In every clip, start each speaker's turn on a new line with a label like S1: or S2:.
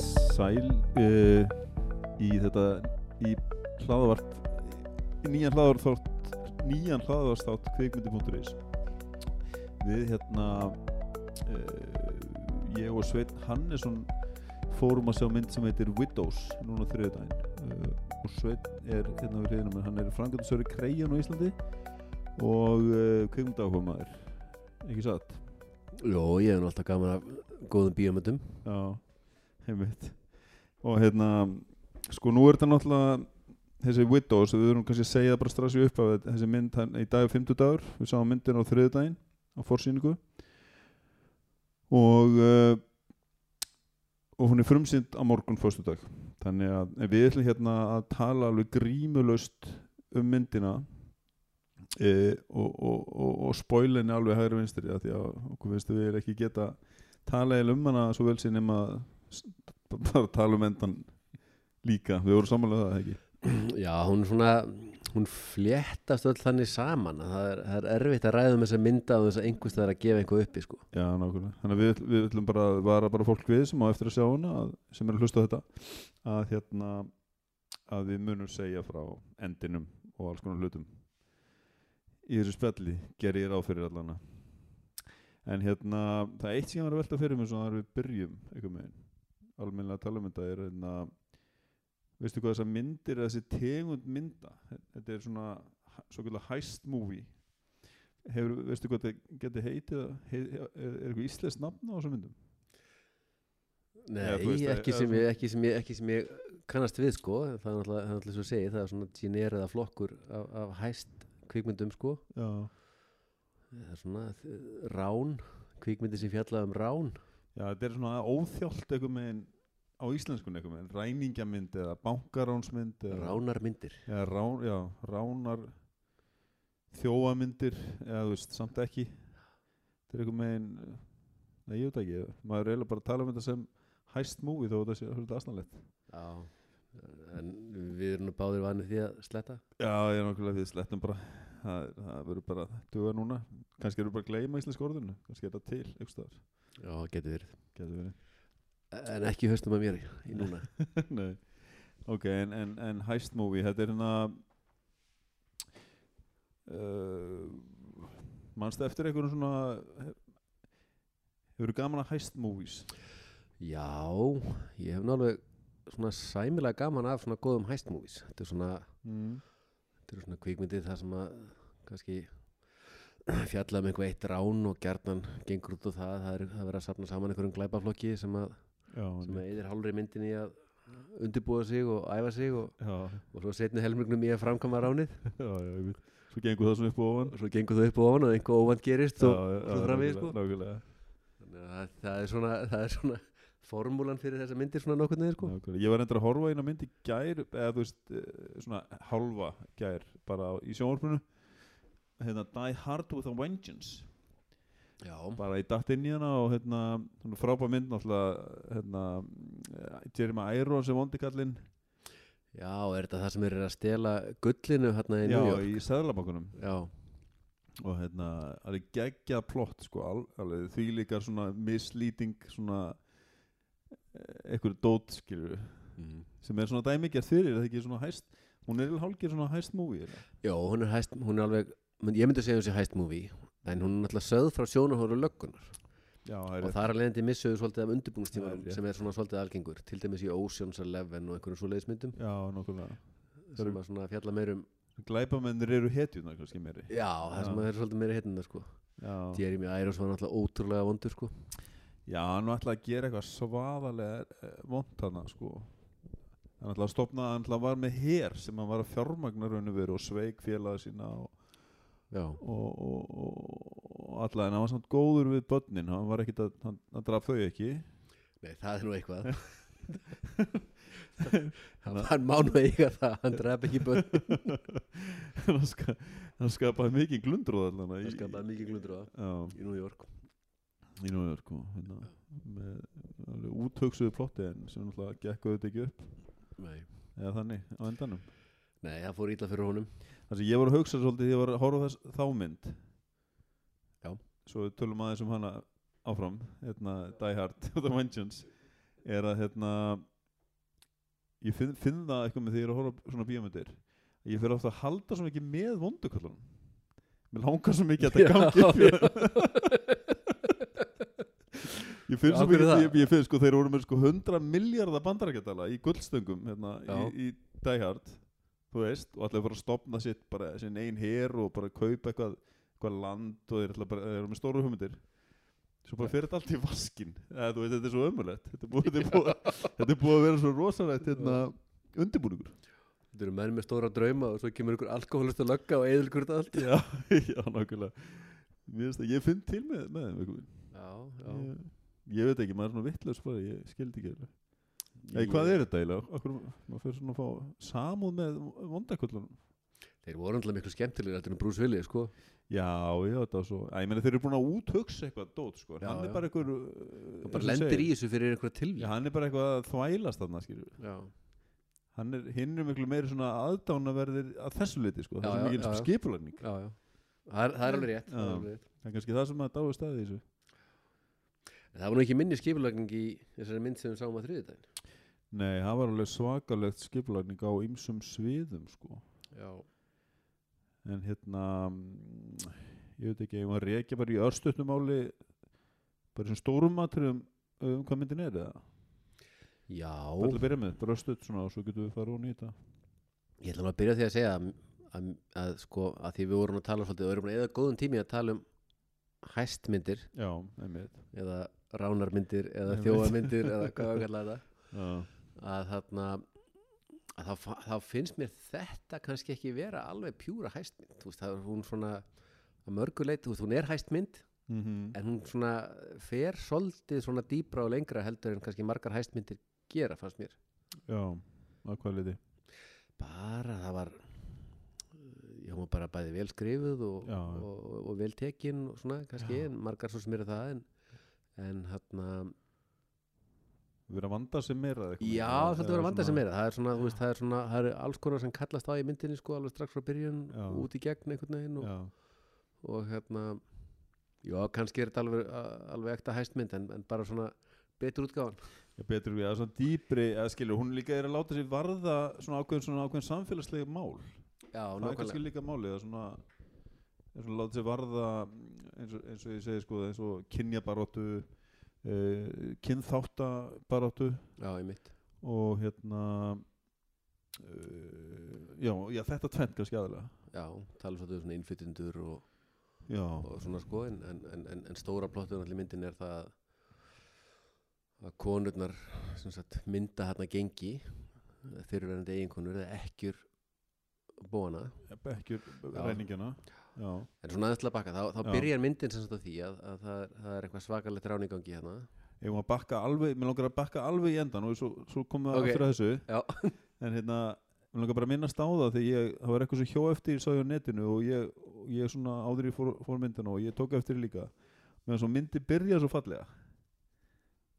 S1: til uh, í þetta í hlaðavart í nýjan hlaðavart nýjan hlaðavartátt kvikmyndi.is við hérna uh, ég og Sveit Hannesson fórum að sjá mynd sem heitir Widows núna þriðdægin uh, og Sveit er hérna við hliðina mér hann er frangatisöri Kreijan á Íslandi og uh, kvikmyndaákvæmaður ekki satt
S2: Jó, ég hef nú alltaf gaman af góðum bíómyndum
S1: Já, einmitt Og hérna, sko nú er þetta náttúrulega þessi Widows, við erum kannski að segja það bara strax í upphafi, þessi mynd hann, í dag er fimmtudagur, við sáum myndin á þriðudaginn á forsýningu og uh, og hún er frumsýnd á morgun föstudag, þannig að en við ætlum hérna að tala alveg grímulaust um myndina e, og, og, og, og spoilinni alveg hægri vinstri af því að okkur finnst að við erum ekki geta tala eða um hana svo vel sér nema s- b- bara tala um endan líka, við vorum samanlega það ekki
S2: Já, hún er svona hún fléttast öll þannig saman að það er, það er erfitt að ræða um þessa mynda og þess að einhvers það er að gefa einhver uppi sko.
S1: Já, nákvæmlega, þannig að við, við ætlum bara að vara bara fólk við sem á eftir að sjá hana að, sem er að hlusta á þetta að hérna að við munum segja frá endinum og alls konar hlutum í þessu spjalli ger ég ráð fyrir allana en hérna, það er eitt sem ég var að velta fyrir mér svona þar við byrjum einhvern veginn almennilega tala um þetta er hérna veistu hvað þessar myndir eða þessi tegund mynda þetta er svona svo kallar heist movie Hefur, veistu hvað þetta geti heitið hei, er, er eitthvað íslensk nafn á þessum myndum?
S2: Nei,
S1: Já, þú veist,
S2: ekki,
S1: eða
S2: sem ég,
S1: svona-
S2: ekki, sem ég, ekki sem ég kannast við sko. það er náttúrulega, það er náttúrulega svo að segja það er svona tíner eða flokkur af, af hæst kvikmyndum sko.
S1: Já,
S2: það er svona eh, rán kvikmyndi sem fjallaði um rán
S1: já þetta er svona óþjált eitthvað með á íslenskun eitthvað með ræningjamynd eða bankaránsmynd eða
S2: ránarmyndir
S1: Já, rán, já, ránar þjóamyndir eða þú veist, samt ekki þetta er eitthvað með nei, ég veit ekki, maður er eiginlega bara að tala um þetta sem hæst múi þó þetta sé svolítið aðsnarlegt
S2: Já, en við erum nú báðir vanið því að sletta
S1: Já, ég er nákvæmlega því slettum bara það, það verður bara að duga núna kannski erum við bara að gleyma íslensku orðinu kannski er þetta til, einhvers staðar
S2: Já, getur verið
S1: getur verið
S2: En ekki höstum að mér í núna
S1: Nei, ok, en, en, en heist movie, þetta er hérna uh, mannstu eftir einhverjum svona hefur gaman að heist movies
S2: Já, ég hef nálega svona sæmilega gaman af svona góðum hæstmúvis Þetta er svona,
S1: mm.
S2: þetta er svona kvikmyndið það sem að kannski fjalla um einhver eitt rán og gjarnan gengur út á það það er að vera að safna saman einhverjum glæpaflokki sem að,
S1: Já,
S2: sem að eðir hálfri myndinni í að undirbúa sig og æfa sig og,
S1: já,
S2: og svo setni helmingnum í að framkama ránið
S1: já, já, ég veit Svo gengur það svona upp og ofan
S2: og svo gengur þau upp og ofan og einhver óvand gerist og, svo framvegis, sko.
S1: Nákvæmlega,
S2: Þannig að það- það er svona, það er svona formúlan fyrir þessa myndir svona nokkurn veginn sko.
S1: nákvæmlega Ég var endur að horfa eina mynd í gær eða þú veist, eh, svona halva gær bara á- í sjónvarpinu hérna Die Hard with a Vengeance
S2: Já,
S1: bara ég datt inn í hana og hérna, svona frábær mynd náttúrulega hérna, eh, Jeremy Irons sem vondi kallinn
S2: já, er þetta það sem er að stela gullinu hérna
S1: já,
S2: í New York?
S1: í Sæðlabankunum
S2: Já,
S1: og hérna, alveg geggjað plott sko, al- alveg því líkar svona mislýting svona eh, einhverju dót skilur
S2: mm.
S1: sem er svona dæmigerð fyrir, er það ekki svona hæst hún er hálfgerð svona hæst múi
S2: já, hún er hæst, hún er alveg, mynd- ég myndi að segja hún sé hæst movie, en hún er náttúrulega sögð frá sjónahóru löggunar
S1: já, það er
S2: og það er að leiðandi missuðu svolítið af
S1: Það er
S2: undirbúingstímanum
S1: rétt.
S2: sem er svona svolítið algengur, til dæmis í Ocean's Eleven og einhverjum svoleiðismyndum
S1: já, nokkulega eru-
S2: sem að svona fjalla meirum,
S1: glæpamennir eru hetjunar kannski meiri
S2: já, það sem
S1: Já.
S2: að er svolítið meiri hérna sko.
S1: já.
S2: Jeremy Irons var náttúrulega ótrúlega vondur sko.
S1: Já, hann var alltaf að gera eitthvað svaðalega vond hana sko hann alltaf að stopna, hann alltaf var með hér sem hann var að fjármagna rauninu veru og sveik félaga sína og,
S2: Já,
S1: og, og, og, og alltaf en hann var samt góður við börnin hann var ekkit að, hann, hann draf þau ekki
S2: Nei, það er nú eitthvað Hann hann má nú eiga það, hann draf ekki börn
S1: hann, ska, hann skapaði mikið glundrúð allan
S2: Það skapaði mikið glundur á
S1: Já,
S2: í New York
S1: í núður sko hérna, með alveg úthugsuðu plotti en sem alltaf gekk auðvitað ekki upp
S2: Nei,
S1: eða þannig á endanum
S2: Nei það fór ítla fyrir honum
S1: Þannig að ég var að hugsa svolítið þegar ég var að horfa á þess, þá mynd
S2: Já.
S1: Svo við tölum aðeins um hana áfram hérna Die Hard og The Vengeance er að hérna ég finn, finn það eitthvað með því ég er að horfa á svona bíómyndir ég fyrir ofta að halda svo mikið með vonduköllunum mér langar svo mikið að
S2: Já,
S1: þetta gangi upp hjá
S2: já.
S1: þeim. ég finn
S2: Já,
S1: svo
S2: af hverju
S1: mikið
S2: það?
S1: ég, ég finn sko þeir voru með sko 100 miljardar bandarækjadala í guldstöngum hérna,
S2: Já.
S1: í, í Die Hard þú veist, og allir fara að stopna sitt bara sinn einn her og bara kaupa eitthvað, eitthvað land og þeir, ætla bara, þeir eru með stóru hugmyndir svo bara fyrir þetta allt í vaskin eða, þú veist, þetta er svo ömulegt þetta er búið, þetta er búið, þetta er búið að vera svo rosalegt hérna, undirbúningur
S2: Þetta eru menn með stóra drauma og svo kemur ykkur alkoholist að lögga og eðil hvort allt.
S1: já, já, nákvæmlega Mér finnst það, ég finn til með, með þeim einhvern veginn.
S2: Já, já.
S1: ég, ég veit ekki, maður er svona vittlaus bara, ég skildi ekki alveg. Nei, hvað er þetta eiginlega? Akkur, maður fyrir svona að fá samúð með vondaköllunum
S2: Þeir voru alltaf miklu skemmtilegir heldur en Bruce Willis, sko.
S1: Já, já, þetta var svo Æ, ég meina þeir eru búin að úthugsa eitthvað dót, sko
S2: Já,
S1: Hann er
S2: já.
S1: bara eh, eitthvað
S2: Og bara lendir í þessu fyrir einhverja
S1: Já,
S2: tilvíð.
S1: hann er bara eitthvað að þvælast þarna, skilur
S2: Já.
S1: Hann er, hinn er miklu meiri svona aðdánaverðir að þessu leiti, sko Það
S2: Já,
S1: er svo
S2: já, já,
S1: mikil
S2: já.
S1: skipulagning
S2: já, já. Það er, það er alveg rétt. Það,
S1: Já.
S2: er alveg rétt.
S1: Það er kannski það sem að dáa staði í þessu
S2: En það var nú ekki minni skipulagning í þessari mynd sem við sáum að þriðið daginn.
S1: Nei, það var alveg svakalegt skipulagning á ymsum sviðum, sko
S2: Já.
S1: En hérna, mm, ég veit ekki, ég var reykja bara í örstutnum máli Bara í svona stórum matriðum um hvað myndin er, eða? Bara til
S2: Já.
S1: að byrja með, bara örstutt svona og svo getum við farið ofan í þetta.
S2: Ég ætla nú að byrja á því að segja að, að, að sko, að því við vorum að tala svolítið, við vorum eða góðum tími að tala um hæstmyndir
S1: Já, einmitt.
S2: eða ránarmyndir eða
S1: Einmitt.
S2: þjóðarmyndir eða hvað við kallar þetta.
S1: Já.
S2: að þarna að þá, fa- þá finnst mér þetta kannski ekki vera alveg pjúra hæstmynd þú veist, það er hún svona að mörguleit, þú veist, hún er hæstmynd
S1: Mhm.
S2: en hún svona fer svolítið svona dýpra og lengra heldur en kannski margar hæstmyndir gera, fannst mér
S1: Já, að hvað liti?
S2: bara það var ég hún var bara bæði vel skrifuð og,
S1: Já.
S2: og, og, og vel tekin og svona kannski, en margar svo sem eru það en, en hérna,
S1: Við erum að vanda sem meira eða eitthvað.
S2: já,
S1: Eða-
S2: svolítið
S1: eða
S2: verið að vanda
S1: svona-
S2: sem meira það er svona, þú veist, það er svona, það eru alls konar sem kallast á í myndinni, sko, alveg strax frá byrjun
S1: Já.
S2: út í gegn einhvern veginn og,
S1: Já,
S2: og hérna já, kannski er þetta alveg, a- alveg ekta hæstmynd en, en bara svona betur útgáðan
S1: ég betur við að svona dýpri, eða skilur, hún líka er að láta sér varða svona ákveðin, svona ákveðin samfélagslega mál.
S2: já,
S1: það er kannski
S2: nákvæmlega
S1: líka málið að svona, er svona láta sér varða, mm, eins og, eins og ég segi sko, eins og kynjabaróttu, uh, kynþáttabaróttu
S2: já, ég mitt
S1: og hérna, uh, já, já, þetta tvennt kannski aðalega.
S2: já, tala svolítið um svona innflytjendur og,
S1: Já,
S2: og svona sko en, en, en, en- en stóra plottuðan allir myndin er það að konurnar sem sagt, mynda hérna gengi fyrirverandi eiginkonur eða ekkjur bóna
S1: bekkjur
S2: Já.
S1: ræningina já,
S2: en svona aðeins til að bakka þá, þá
S1: Já.
S2: byrjar myndin sem sagt á því að, að það, er, það er eitthvað svakalegt ráningangi hérna
S1: ég má bakka alveg mér langar að bakka alveg í endan og svo, svo komum við
S2: Ok.
S1: aftur að þessu
S2: Já.
S1: en hérna, mér langar bara að minnast á það þegar ég, það var eitthvað sem hjó eftir ég sá ég á netinu og ég, og ég svona áður í fór, fór myndina og ég tók eftir því líka meðan svo myndi byrja svo fallega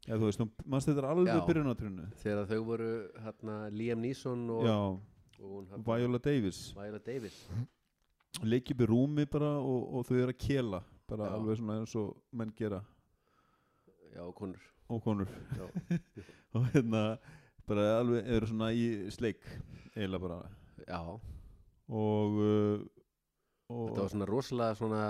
S1: já, þú veist, mannst þetta er
S2: Já.
S1: alveg byrjunatrinu
S2: þegar þau voru hérna Liam Neeson og,
S1: já,
S2: og hún hérna
S1: Viola Davis
S2: Viola Davis
S1: leik upp í rúmi bara og, og þau eru að kela bara
S2: Já.
S1: alveg svona eins og menn gera
S2: já, og konur
S1: og konur
S2: já.
S1: og hérna bara alveg eru svona í sleik eiginlega bara
S2: já,
S1: og, uh,
S2: þetta var
S1: og
S2: svona rosalega svona,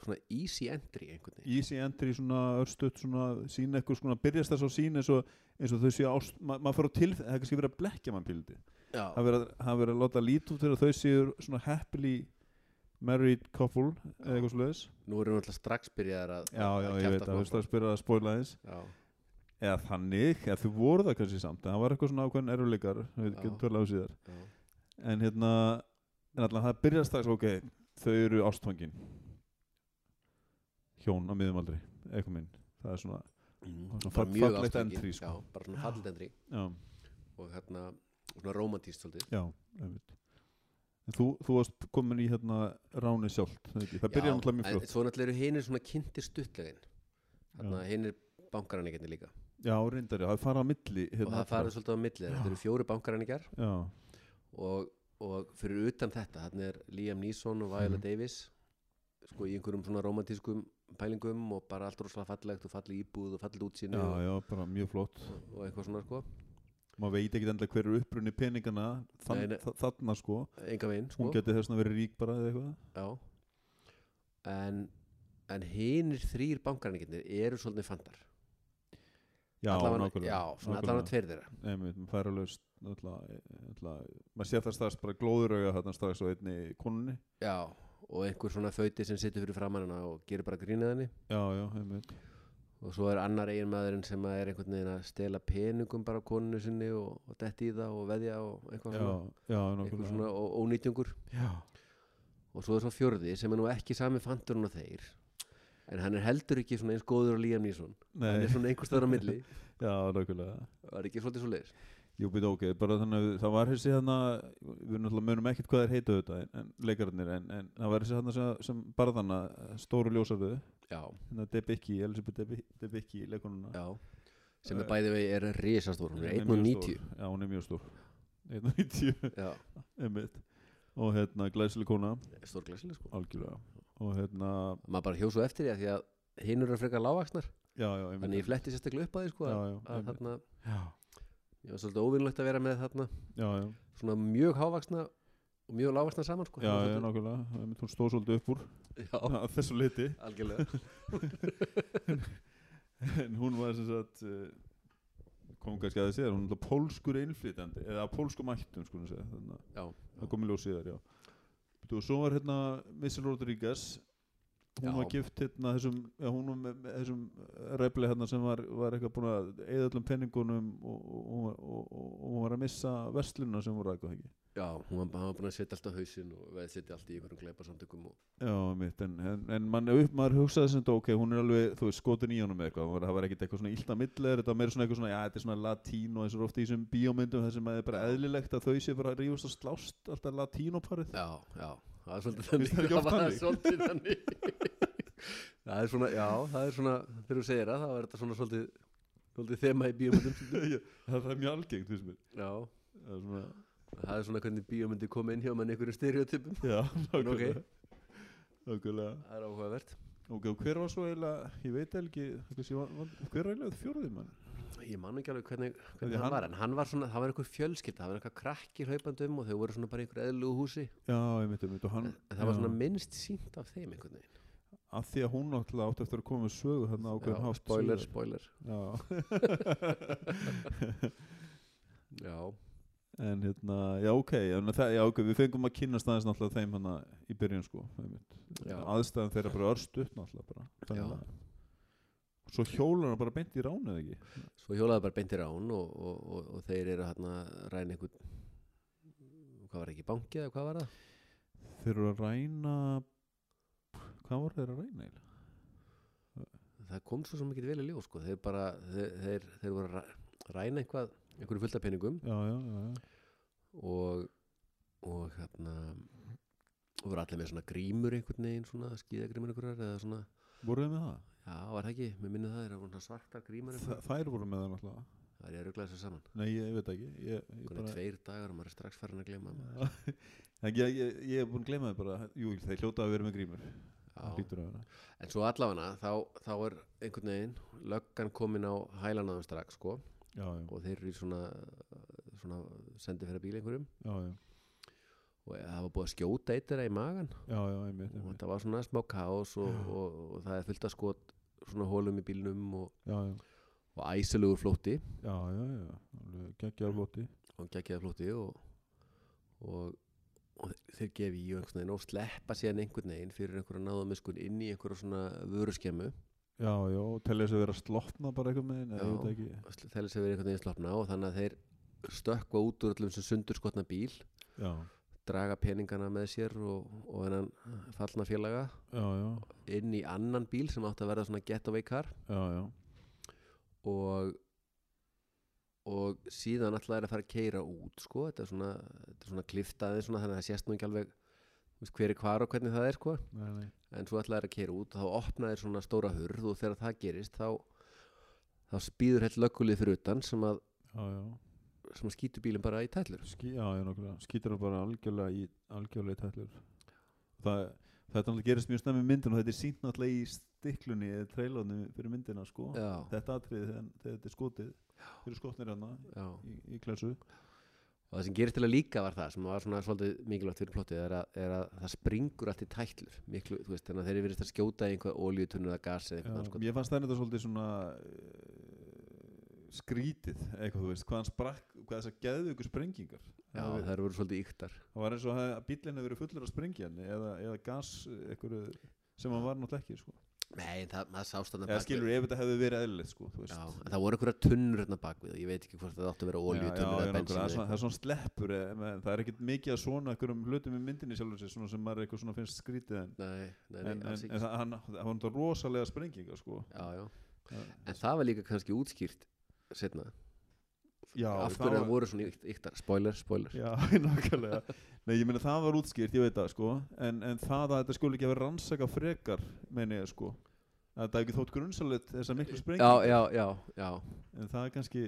S2: svona easy entry einhvern veginn
S1: easy entry svona örstutt svona sína eitthvað svona byrjast þess á sína eins og, eins og þau séu ást ma maður fyrir á tilfinn, það er kannski verið að blekja mann píldi
S2: já,
S1: það er verið að- það er verið að láta lít út fyrir að þau séu svona happily married couple eða eitthvað slúðis
S2: nú erum við alltaf strax byrjaðar að
S1: já já ég veit að það er
S2: strax
S1: að spyrja að spoila eins
S2: já,
S1: eða þannig, eða þau voru það kannski samt en það var eitthvað svona ákveðin erfuleikar við
S2: Já.
S1: getum tölja á síðar
S2: já,
S1: en hérna en allan það byrjar strax ok þau eru ástfangin hjón á miðum aldri eitthvað minn það er svona
S2: mm,
S1: Og svona
S2: bara
S1: fall-
S2: mjög
S1: fallegt
S2: ástfangin,
S1: entry, sko.
S2: já, bara svona fallet entry
S1: já,
S2: og hérna svona romantíst svolítið
S1: já einmitt. en þú, þú varst komin í hérna ráni sjálft það, það byrjar
S2: Já,
S1: alltaf mjög
S2: en
S1: flott
S2: svo náttúrulega eru hinir svona kynntir stuttlegin hérna hinir bankaræningarnir líka
S1: já reyndar já, það fara á milli
S2: og
S1: hérna,
S2: það farið svolítið á milli þeirra. þetta eru fjóri bankaræningar
S1: já,
S2: og, og fyrir utan þetta þannig er Liam Neeson og Viola
S1: Mhm.
S2: Davis sko í einhverjum svona romantískum pælingum og bara allt rosalega fallegt og falleg íbúð og falleg útsýni
S1: já,
S2: og,
S1: já, bara mjög flott
S2: og eitthvað svona sko
S1: maður veit ekki endilega hver er upprunni peningana þann,
S2: Nei, nei.
S1: þa- þarna sko
S2: enga veginn sko
S1: hún geti þess að vera rík bara eða eitthvað
S2: Já En, en hinir þrýr bankarningirnir eru svolítið fandar
S1: já,
S2: allavega,
S1: nákvæmlega
S2: já, svona allavega tveir þeirra
S1: einmitt, maður færa löst maður sé það strax bara glóðurauga þarna strax á einni konunni
S2: Já, og einhver svona föti sem situr fyrir framan hana og gerir bara grínið henni
S1: já, já, einmitt
S2: og svo er annar eiginmaðurinn sem að er einhvern veginn að stela peningum bara af konunni sinni og, og detti í það og veðja og eitthvað
S1: já,
S2: svona,
S1: já,
S2: eitthvað
S1: nákvæmlega
S2: svona ó- ónýtjungur
S1: já,
S2: og svo er svo fjörði sem er nú ekki sami fanturinn og þeir en hann er heldur ekki svona eins góður og Liam Neeson hann
S1: nei,
S2: er svona einhver stöður á milli
S1: já, nákvæmlega
S2: það er ekki svolítið svo leiðis
S1: Jú, býtu ok, bara þannig að það var þessi þarna, við náttúrulega munum ekkert hvað þeir heita auðvitað, en, en leikararnir, en, en það var þessi þarna sem, sem bara þarna, stóru ljósarðu,
S2: já,
S1: hérna Debicki, Elisabeth Debi- Debicki, leikonuna.
S2: já sem
S1: Eh,
S2: er bæði vegi er risastór hún er
S1: Hún mjög
S2: 1.90
S1: stór. Já, hún er mjög stór. 1.90,
S2: já,
S1: einmitt. Og hérna, glæsileg kona,
S2: stór glæsileg sko
S1: algjörlega. Og hérna,
S2: maður bara hjóð svo eftir því að því að hinn eru frekar lágaksnar
S1: já, já, einmitt.
S2: þannig ég fletti sérstaklega upp að því sko
S1: Já,
S2: að,
S1: já,
S2: að
S1: einmitt.
S2: þarna,
S1: Já,
S2: ég var svolítið óvinnlegt að vera með þarna
S1: já, já,
S2: svona mjög hávaksna og mjög lávaksna saman sko
S1: já,
S2: Það var
S1: já,
S2: svolítið-
S1: nákvæmlega, einmitt, hún stóð svolítið upp úr,
S2: já,
S1: að þessu liti.
S2: algjörlega
S1: en hún var sem sagt eh, kom kannski að það séðar, hún er náttúrulega pólskur einflýtandi, eða af pólskum ættum sko hún segja, þannig að
S2: já,
S1: það kom í ljós síðar, já Þú, svo var hérna Missy Rodriguez hún
S2: Já.
S1: var gift hérna þessum, ja, hún var með, með þessum repli hérna sem var, var eitthvað búin að eða öllum penningunum og, og, og, og, og, og hún var að missa verslunna sem voru rækvað ekki
S2: já, hún var, hann var búin að setja allt á hausinn og veð setja allt í einhverjum gleipasamtökum og
S1: Já, mitt, en, en, en man, upp, maður hugsaði sem þetta, ok, hún er alveg, þú veist, skotin í honum eða eitthvað, hún var- það var ekkit eitthvað svona illt að millegar, þetta var meira svona eitthvað svona, já, þetta er svona latín og þessar ofta í þessum bíómyndum, þessum að það er bara eðlilegt að þau sé bara að rífast og slást alltaf latínoparið.
S2: já, já, það er svolítið
S1: Finnst þér
S2: þannig
S1: ekki oft
S2: var
S1: þannig?
S2: svolítið þannig það er svona, já, það er svona þegar þú segir það, þá er þetta svona svolítið svolítið þema í bíómyndum
S1: Já, það, það er mjög algengt, þú veist,
S2: já,
S1: það er svona,
S2: það er svona hvernig bíómyndi koma inn hjá mann einhverjum stereotypum
S1: já,
S2: En ok.
S1: nákvæmlega. Nákvæmlega.
S2: það er áhugavert
S1: Ok, og hver var svo eiginlega, ég veit eiginlega ekki, kannski var- var- hver var eiginlega fjórðið mann?
S2: ég man ekki alveg hvernig,
S1: Því
S2: hvernig hann,
S1: hann-
S2: var en hann var svona, það var einhver fjölskylda það var einhver krakki hlaupandi um og þau voru svona bara í einhverju eðlugu húsi
S1: Já, ég veit, ég veit, og hann,
S2: en það var
S1: já,
S2: svona minnst sínt af þeim einhvern veginn
S1: að því að hún náttúrulega átti eftir að koma með sögu þarna á
S2: Já,
S1: hvern hátt.
S2: spoiler,
S1: síðar.
S2: spoiler
S1: Já.
S2: já,
S1: en hérna, já ok, en það, já, ok við fengum að kynast aðeins náttúrulega þeim hana í byrjun sko einmitt.
S2: Já.
S1: aðstæðan þeirra bara örstuð náttúrulega bara,
S2: Já.
S1: Þannig að- og svo hjólar hann bara beint í ránu eða ekki
S2: svo hjólaði bara beintir án og, og, og, og þeir eru hérna ræna einhvern hvað var ekki, banki eða hvað var það
S1: þeir eru að ræna hvað voru þeir að ræna eiginlega?
S2: það kom svo sem ekki vel í ljó sko. þeir bara, þeir, þeir, þeir voru að ræ- ræna eitthvað, einhverju fullt af peningum
S1: já, já, já, já,
S2: og og hérna og voru allir með svona grímur einhvern veginn svona skíðagrímur einhverjar eða svona
S1: voru þeir með það?
S2: Já, var það ekki, mér minni það er að voru svona svartar grímar
S1: Þa,
S2: eitthvað.
S1: þær voru með það náttúrulega
S2: Það er ég að ruggla þessu saman
S1: nei, ég veit ekki ég, ég,
S2: Hvernig
S1: bara,
S2: tveir dagar og maður er strax farin að gleyma maður.
S1: ég, ég, ég, ég er búin að gleyma þeir bara jú, þeir hljóta að vera með grímur það
S2: Já.
S1: hlýtur að vera
S2: En svo allavega þá, þá er einhvern veginn löggan komin á hælanaðum strax sko
S1: já, já,
S2: og þeir eru í svona, svona sendið fyrir bíl einhverjum
S1: já, já,
S2: og það var búið að skjóta eitt þeirra í magan
S1: já, já, einmitt,
S2: og
S1: einmitt.
S2: þetta var svona smá kaos og, og, og það er fullt að skot svona hólum í bílnum og,
S1: já, já
S2: og æsilugur flótti
S1: Já, já, já, alveg geggjar flóti
S2: og geggjaði flótti og, og, og þeir gefi í og einhvern veginn og sleppa síðan einhvern veginn fyrir einhverja náðamiskun inn í einhverja svona vöruskemmu
S1: Já, já, og telja þess að vera slopna bara eitthvað með
S2: Já.
S1: henni, ég veit
S2: og sl- þeir sem verið einhvern veginn slopna og þannig að þeir stökkva út úr öllum sem sundurskotna bíl
S1: ekki Já,
S2: draga peningana með sér og, og hennan fallna félaga
S1: já, já,
S2: inn í annan bíl sem átti að verða svona getaway car
S1: já, já
S2: og og síðan alltaf er að fara að keira út sko, þetta er svona, þetta er svona kliftaði svona, þannig að það sést nú ekki alveg þú veist, hver er hvar og hvernig það er sko.
S1: Nei, nei,
S2: en svo ætlaði þeir að keira út og þá opnaði svona stóra hurð og þegar það gerist þá, þá spýður heilt löggulið fyrir utan sem að,
S1: já, já
S2: sem að skýtu bílinn bara í tællur
S1: Ski, Já, já, nokkulega, skýtur það bara algjörlega í algjörlega í tællur Það, þetta náttúrulega gerist mjög snemmi í myndin og þetta er sínt náttúrulega í stiklunni eða trailónu fyrir myndina, sko
S2: Já,
S1: Þetta atriði þegar þegar þetta er skotið fyrir skotnir hérna
S2: já
S1: í, í klessu
S2: og það sem gerist til að líka var það sem var svona svolítið mikilvægt fyrir plottið er, að- er að það springur allt í tætlur miklu, þú veist, þannig að þeir eru verið að skjóta í einhvað olíutunni eða gas eða eitthvað sko.
S1: ég fannst það þetta svolítið svona uh, skrítið eitthvað þú veist, hvað hann sprakk hvað þess að geðu ykkur sprengingar
S2: já,
S1: það,
S2: það eru verið svolítið yktar
S1: það var eins og að bíllinn hefur verið fullur af sprengjarni eða, eða gas einhverju sem hann var náttúrulega ekki sko.
S2: nei, en það, maður sást þarna
S1: eða
S2: bak við-
S1: skilur ef þetta hefði verið eðlilegt sko, þú veist.
S2: já, en það voru einhverja tunnur hérna bakvið og ég veit ekki hvort það áttu að vera
S1: Já,
S2: olíutunnur
S1: já,
S2: eða
S1: já, nákvæmlega.
S2: bensín
S1: það, er
S2: eða
S1: svona, það er svona sleppur eh, menn, það er ekkert mikið að svona einhverjum hlutum í myndinni sjálfur sér svona sem maður eitthvað svona finnst skrítið en,
S2: Nei, nei, nei,
S1: en, en,
S2: alls
S1: en
S2: ekki
S1: það, hann, það var náttúrulega rosalega sprenginga sko.
S2: já, já.
S1: Já,
S2: En það var líka kannski útskýrt setna
S1: já,
S2: Af
S1: það
S2: hverju
S1: var-
S2: það voru svona ykt- yktar Spoiler, spoiler
S1: Já, nákvæmlega Nei, ég meina það var útskýrt, ég veit það sko en, en það að þetta skuli ekki að vera rannsaka frekar meina ég sko að þetta hef ekki þótt grunnsalett þessa miklu
S2: já,
S1: sprengingar
S2: já, já, já.
S1: en það er kannski,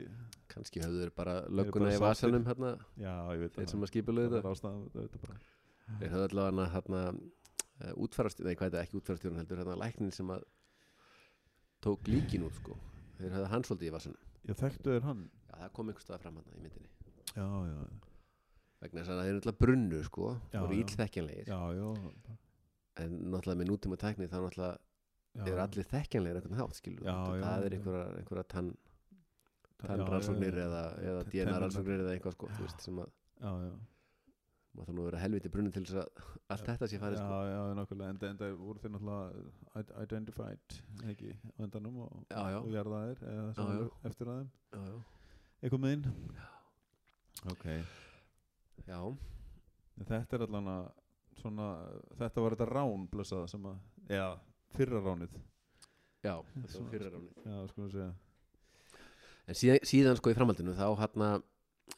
S2: Kannski höfðu þeir bara
S1: bara
S2: lögguna í
S1: sáttir.
S2: vasanum hérna,
S1: já, ég veit
S2: Þeir
S1: það
S2: sem að skipa
S1: það
S2: lögðu
S1: er
S2: þetta
S1: ástæða, það er þetta bara
S2: Þeir höfðu allavega hana hérna uh, útfarastjóð, nei hvað er þetta ekki útfarastjóðan heldur hérna læknin sem að tók líkin út sko Þeir höfðu hann svolítið í vasanum
S1: Já, þekktu er hann
S2: Já, það kom einhvers staðar fram hérna í myndinni
S1: Já, já,
S2: Vegna þess að þeir eru alltaf brunnu sko
S1: Já,
S2: voru
S1: já.
S2: íllþekkjanlegir
S1: já, já,
S2: En náttúrulega með nútíma tækni þá náttúrulega
S1: já
S2: eru allir þekkjanlegir einhvern hátt skilur
S1: Já, já,
S2: Það er
S1: já.
S2: einhverja, einhverja tann
S1: Já, já,
S2: tannrannsóknir
S1: já.
S2: eða, eða
S1: Te-
S2: DNA
S1: tennurnar.
S2: rannsóknir eða eitthvað sko, þú veist, sem að
S1: Já, já
S2: maður þarf nú að vera helviti brunni til þess að allt þetta sé farið
S1: Já,
S2: sko.
S1: já, nákvæmlega, en það voru þeir náttúrulega id- identified, ekki, á endanum og,
S2: Já, já,
S1: og jarðaðir, eða
S2: Já,
S1: sem
S2: já.
S1: voru eftir aðeim,
S2: já, já,
S1: eitthvað með inn Ok,
S2: já,
S1: en þetta er allan að svona, þetta var þetta rán blessaða sem að, já, fyrra ránið
S2: já, þetta var
S1: Svona,
S2: fyrra ráni.
S1: Já, sko við segja
S2: En síðan, síðan sko í framhaldinu þá hann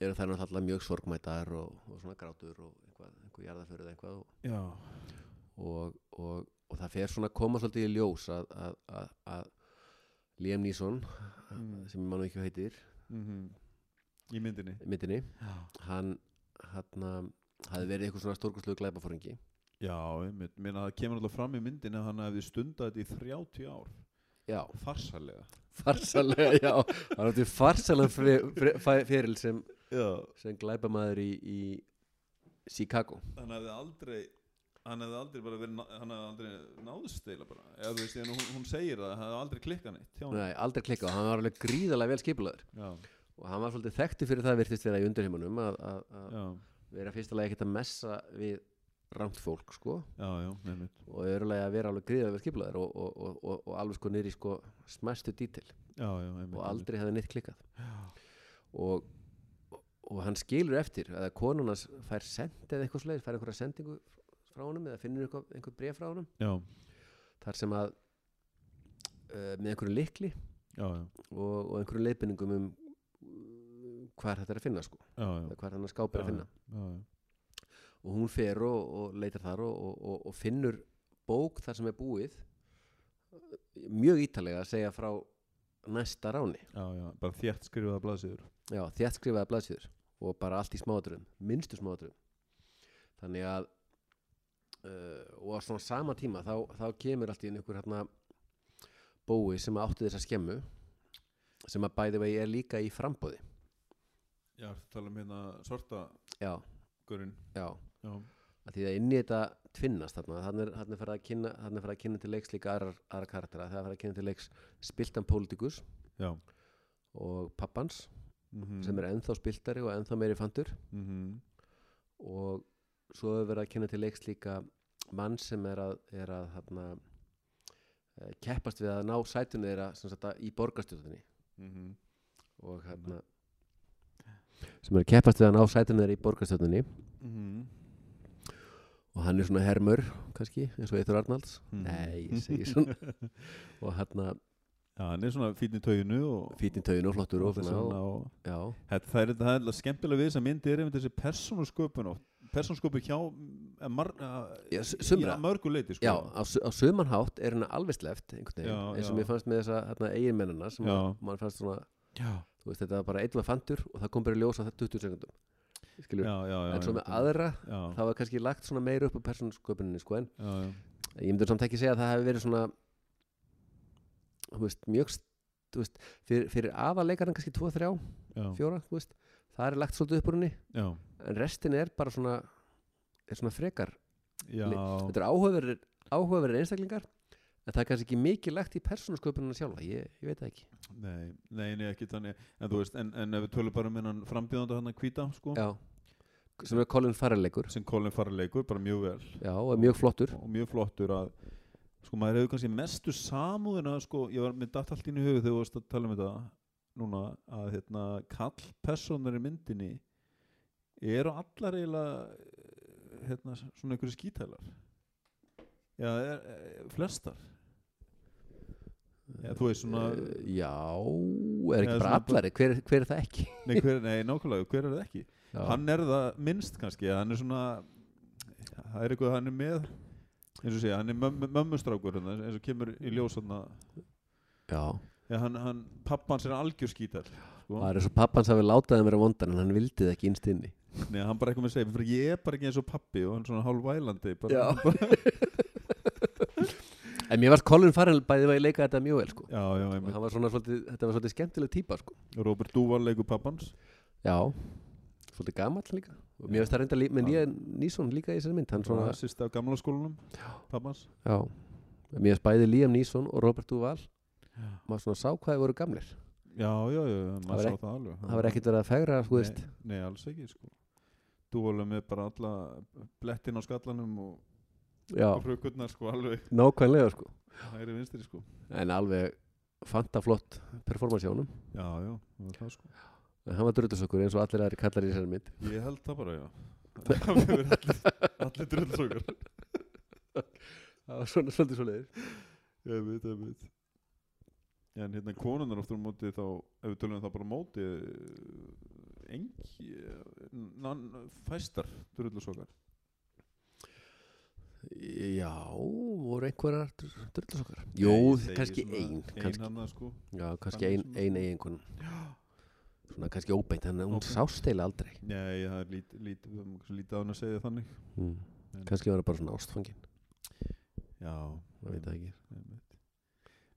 S2: eru þær náttúrulega mjög sorgmætar og, og svona grátur og eitthvað, einhver jarðaförð eða eitthvað og,
S1: Já,
S2: og, og, og það fer svona að koma svolítið í ljós að, að, að, að Liam Neeson,
S1: Mm.
S2: sem ég mann ekki hvað heitir,
S1: mm í myndinni
S2: í myndinni,
S1: Já,
S2: hann, hann hafði verið eitthvað svona stórkostlegu glæpaforingi.
S1: já einmitt, minna það kemur alltaf fram í myndinni að hann hefði stundað þetta í 30 ár,
S2: Já,
S1: farsalega
S2: Farsalega, já Hann átti farsalega fyrir sem,
S1: Já,
S2: sem glæpamaður í, í Chicago
S1: hann hefði aldrei hann hefði aldrei bara verið ná- hann hefði aldrei náðust eila bara eða þú veist, en hún, hún segir það, hann hefði aldrei klikkað neitt hjá hann
S2: Nei, aldrei klikkað og Hann var alveg gríðalega vel skipulaður
S1: já,
S2: Og hann var svolítið þekkti fyrir það virtist vera í undirheimunum að, að, að
S1: já,
S2: vera fyrsta lagi ekkert að messa við rangt fólk, sko
S1: já, já, nefnir
S2: og örulega að vera alveg gríðalega vel skipulaður og, og, og, og, og alveg sko niður í sko smæstu dítil
S1: já, já, einmitt,
S2: og aldrei hefði neitt klikkað og, og hann skilur eftir að konunans fær send eða eitthvað svoleiðis, fær einhverja sendingu frá honum eða finnur einhver, einhver bref frá honum
S1: já,
S2: þar sem að uh, með einhverju likli
S1: já, já,
S2: og, og einhverju leipinningum um hvað þetta er að finna sko
S1: já, já,
S2: eða hvað hann skáp er
S1: Já,
S2: að finna
S1: já, já.
S2: og hún fer og, og leitar þar og, og, og, og finnur bók þar sem er búið mjög ítalega að segja frá næsta ráni
S1: já, já, bara þétt skrifaða blaðsýður
S2: Já, þétt skrifaði blaðsýður og bara allt í smáðurum, minnstu smáðurum þannig að uh, og á svona sama tíma þá, þá kemur allt í einu einhver hérna bói sem átti þessa skemmu sem að bæði vegi er líka í frambóði
S1: já, ertu að tala um hérna svarta
S2: Já,
S1: gurinn
S2: já
S1: já,
S2: að því að inn í þetta tvinnast þarna þannig er, þarna er farið að kynna þannig er farið að kynna til leiks líka aðra, aðra karaktera það er farið að kynna til leiks spiltan pólitíkus
S1: já
S2: og pappans
S1: mm -hmm.
S2: sem er ennþá spiltari og ennþá meiri fantur
S1: mm -hmm.
S2: og svo hefur verið að kynna til leiks líka mann sem er að, er að hana, keppast við að ná sætunni þeirra sem sagt, að- í borgarstjórninni
S1: Mm
S2: og hérna sem er að keppast við að ná sætunni þeirra í borgarstjórninni
S1: Mhm.
S2: og hann er svona hermur kannski eins og Eithur Arnalds
S1: Mhm.
S2: nei, ég segi svona og hérna
S1: já, hann er svona fínn í tauginu og
S2: fítinn taugin og flottur og
S1: og
S2: svona
S1: þessi
S2: og,
S1: svona og
S2: já,
S1: Þetta, það er það er alltaf skemmtilega við þess að myndi er einmitt þessi persónusköpun og persónusköpu hjá eh, mar,
S2: Já, s- sumra.
S1: já, mörgu leiti sko.
S2: já á, su- á sömanhátt er henni alveg sleft einhvern veginn,
S1: Já,
S2: eins og
S1: já.
S2: mér fannst með þessa hérna, eiginmennina sem
S1: Já.
S2: að mann fannst svona
S1: já,
S2: þú veist þetta var bara einn var fantur og það kom bara í ljós á þetta 20 sekundum skilur,
S1: já, já, já
S2: en svo með
S1: einmitt.
S2: aðra
S1: já,
S2: það var kannski lagt svona meira upp á persónsköpuninni sko, en
S1: já, já,
S2: ég myndi samt ekki segja að það hefði verið svona þú veist, mjög þú veist, fyrir, fyrir aðaleikarinn kannski 2, 3,
S1: já,
S2: 4 þú veist, það er lagt svolítið upp úr henni
S1: já,
S2: en restin er bara svona er svona frekar
S1: já,
S2: þetta er áhugaverðir, áhugaverðir einstaklingar en það er kannski ekki mikið lagt í persónusköpunina sjálfa ég, ég veit það ekki
S1: nei, nei, nei, ekki þannig en þú veist, en, en ef við tölum bara um hennan frambjöðanda hann að hvíta, sko,
S2: já. sem er Colin Farrell leikur
S1: sem Colin Farrell leikur, bara mjög vel
S2: já, og er mjög flottur
S1: og mjög flottur að sko maður hefur kannski mestu samúðina sko, ég var með datt allt inn í höfu þegar þú varst að tala um þetta núna að hérna kallpersónar í myndinni eru allar eiginlega hérna svona einhverju skítælar já, er, er, flestar já, þú veist svona
S2: Eh, já, er
S1: Eða
S2: ekki bara
S1: svona-
S2: allari hver, hver er það ekki
S1: nei, hver, nei, nákvæmlega, hver er það ekki
S2: já.
S1: hann er það minnst kannski hann er svona það er eitthvað hann er með eins og segja, hann er mömmu, mömmustrákur hérna, eins og kemur í ljós hann
S2: já.
S1: Já, hann, hann, pappans er algjör skítar sko.
S2: það er eins og pappans hafi látaði mér að vondan en hann vildi það ekki innst inni
S1: Nei, hann bara eitthvað með að segja, fyrir ég er bara ekki eins og pappi og hann svona hálfvælandi bara,
S2: Já.
S1: hann bara,
S2: en mér varst Colin Farrell bæði var ég leika þetta mjög vel sko.
S1: já, já,
S2: og
S1: einmitt
S2: hann var svona svolítið, þetta var svolítið skemmtileg típa sko.
S1: Robert Duvall leikur pappans
S2: já, svolítið gamall líka og mér veist það reynda með Nia Nísson líka í þessari mynd hann svona,
S1: svona sýsta af gamla skólanum pappans
S2: já mér veist bæði Liam Nísson og Robert Duval
S1: Já.
S2: maður svona sá hvað þið voru gamlir
S1: Já, já, já,
S2: var
S1: maður sá
S2: ekki-
S1: það alveg
S2: það var ekkert verið að fegra sko, veist.
S1: Nei, nei, alls ekki, sko Duvall er með bara alla blettin á skallanum og,
S2: já,
S1: og frökkurnar, sko, alveg
S2: nákvæmlega sko.
S1: hægri vinstri, sko
S2: en alveg fanta flott performance hjá honum
S1: Já, já, það var það, sko
S2: en hann var drutusokkur eins og allir aðri kallar í þessari mynd
S1: Ég held það bara, já Það hefur allir, allir dröldsokkar
S2: það var svona svolítið svo leiðir
S1: Ég veit, ég veit En hérna konunar aftur á móti þá ef við tölum það bara á móti eh, engi eh, nan- fæstar drullusokar
S2: já, voru einhverjar drutusokkur jú, kannski ein
S1: Ein
S2: kannski,
S1: hann sko
S2: já, kannski
S1: Þannig
S2: ein,
S1: sem-
S2: ein eiginkun svona kannski óbeint þannig að hún
S1: Óbeint.
S2: sást eiginlega aldrei
S1: Nei, það er lít- lít- við höfum kannski lítið á hann að segja þannig
S2: mm.
S1: En-
S2: kannski var það bara svona ástfangin
S1: Já,
S2: maður veit það ekki
S1: ég veit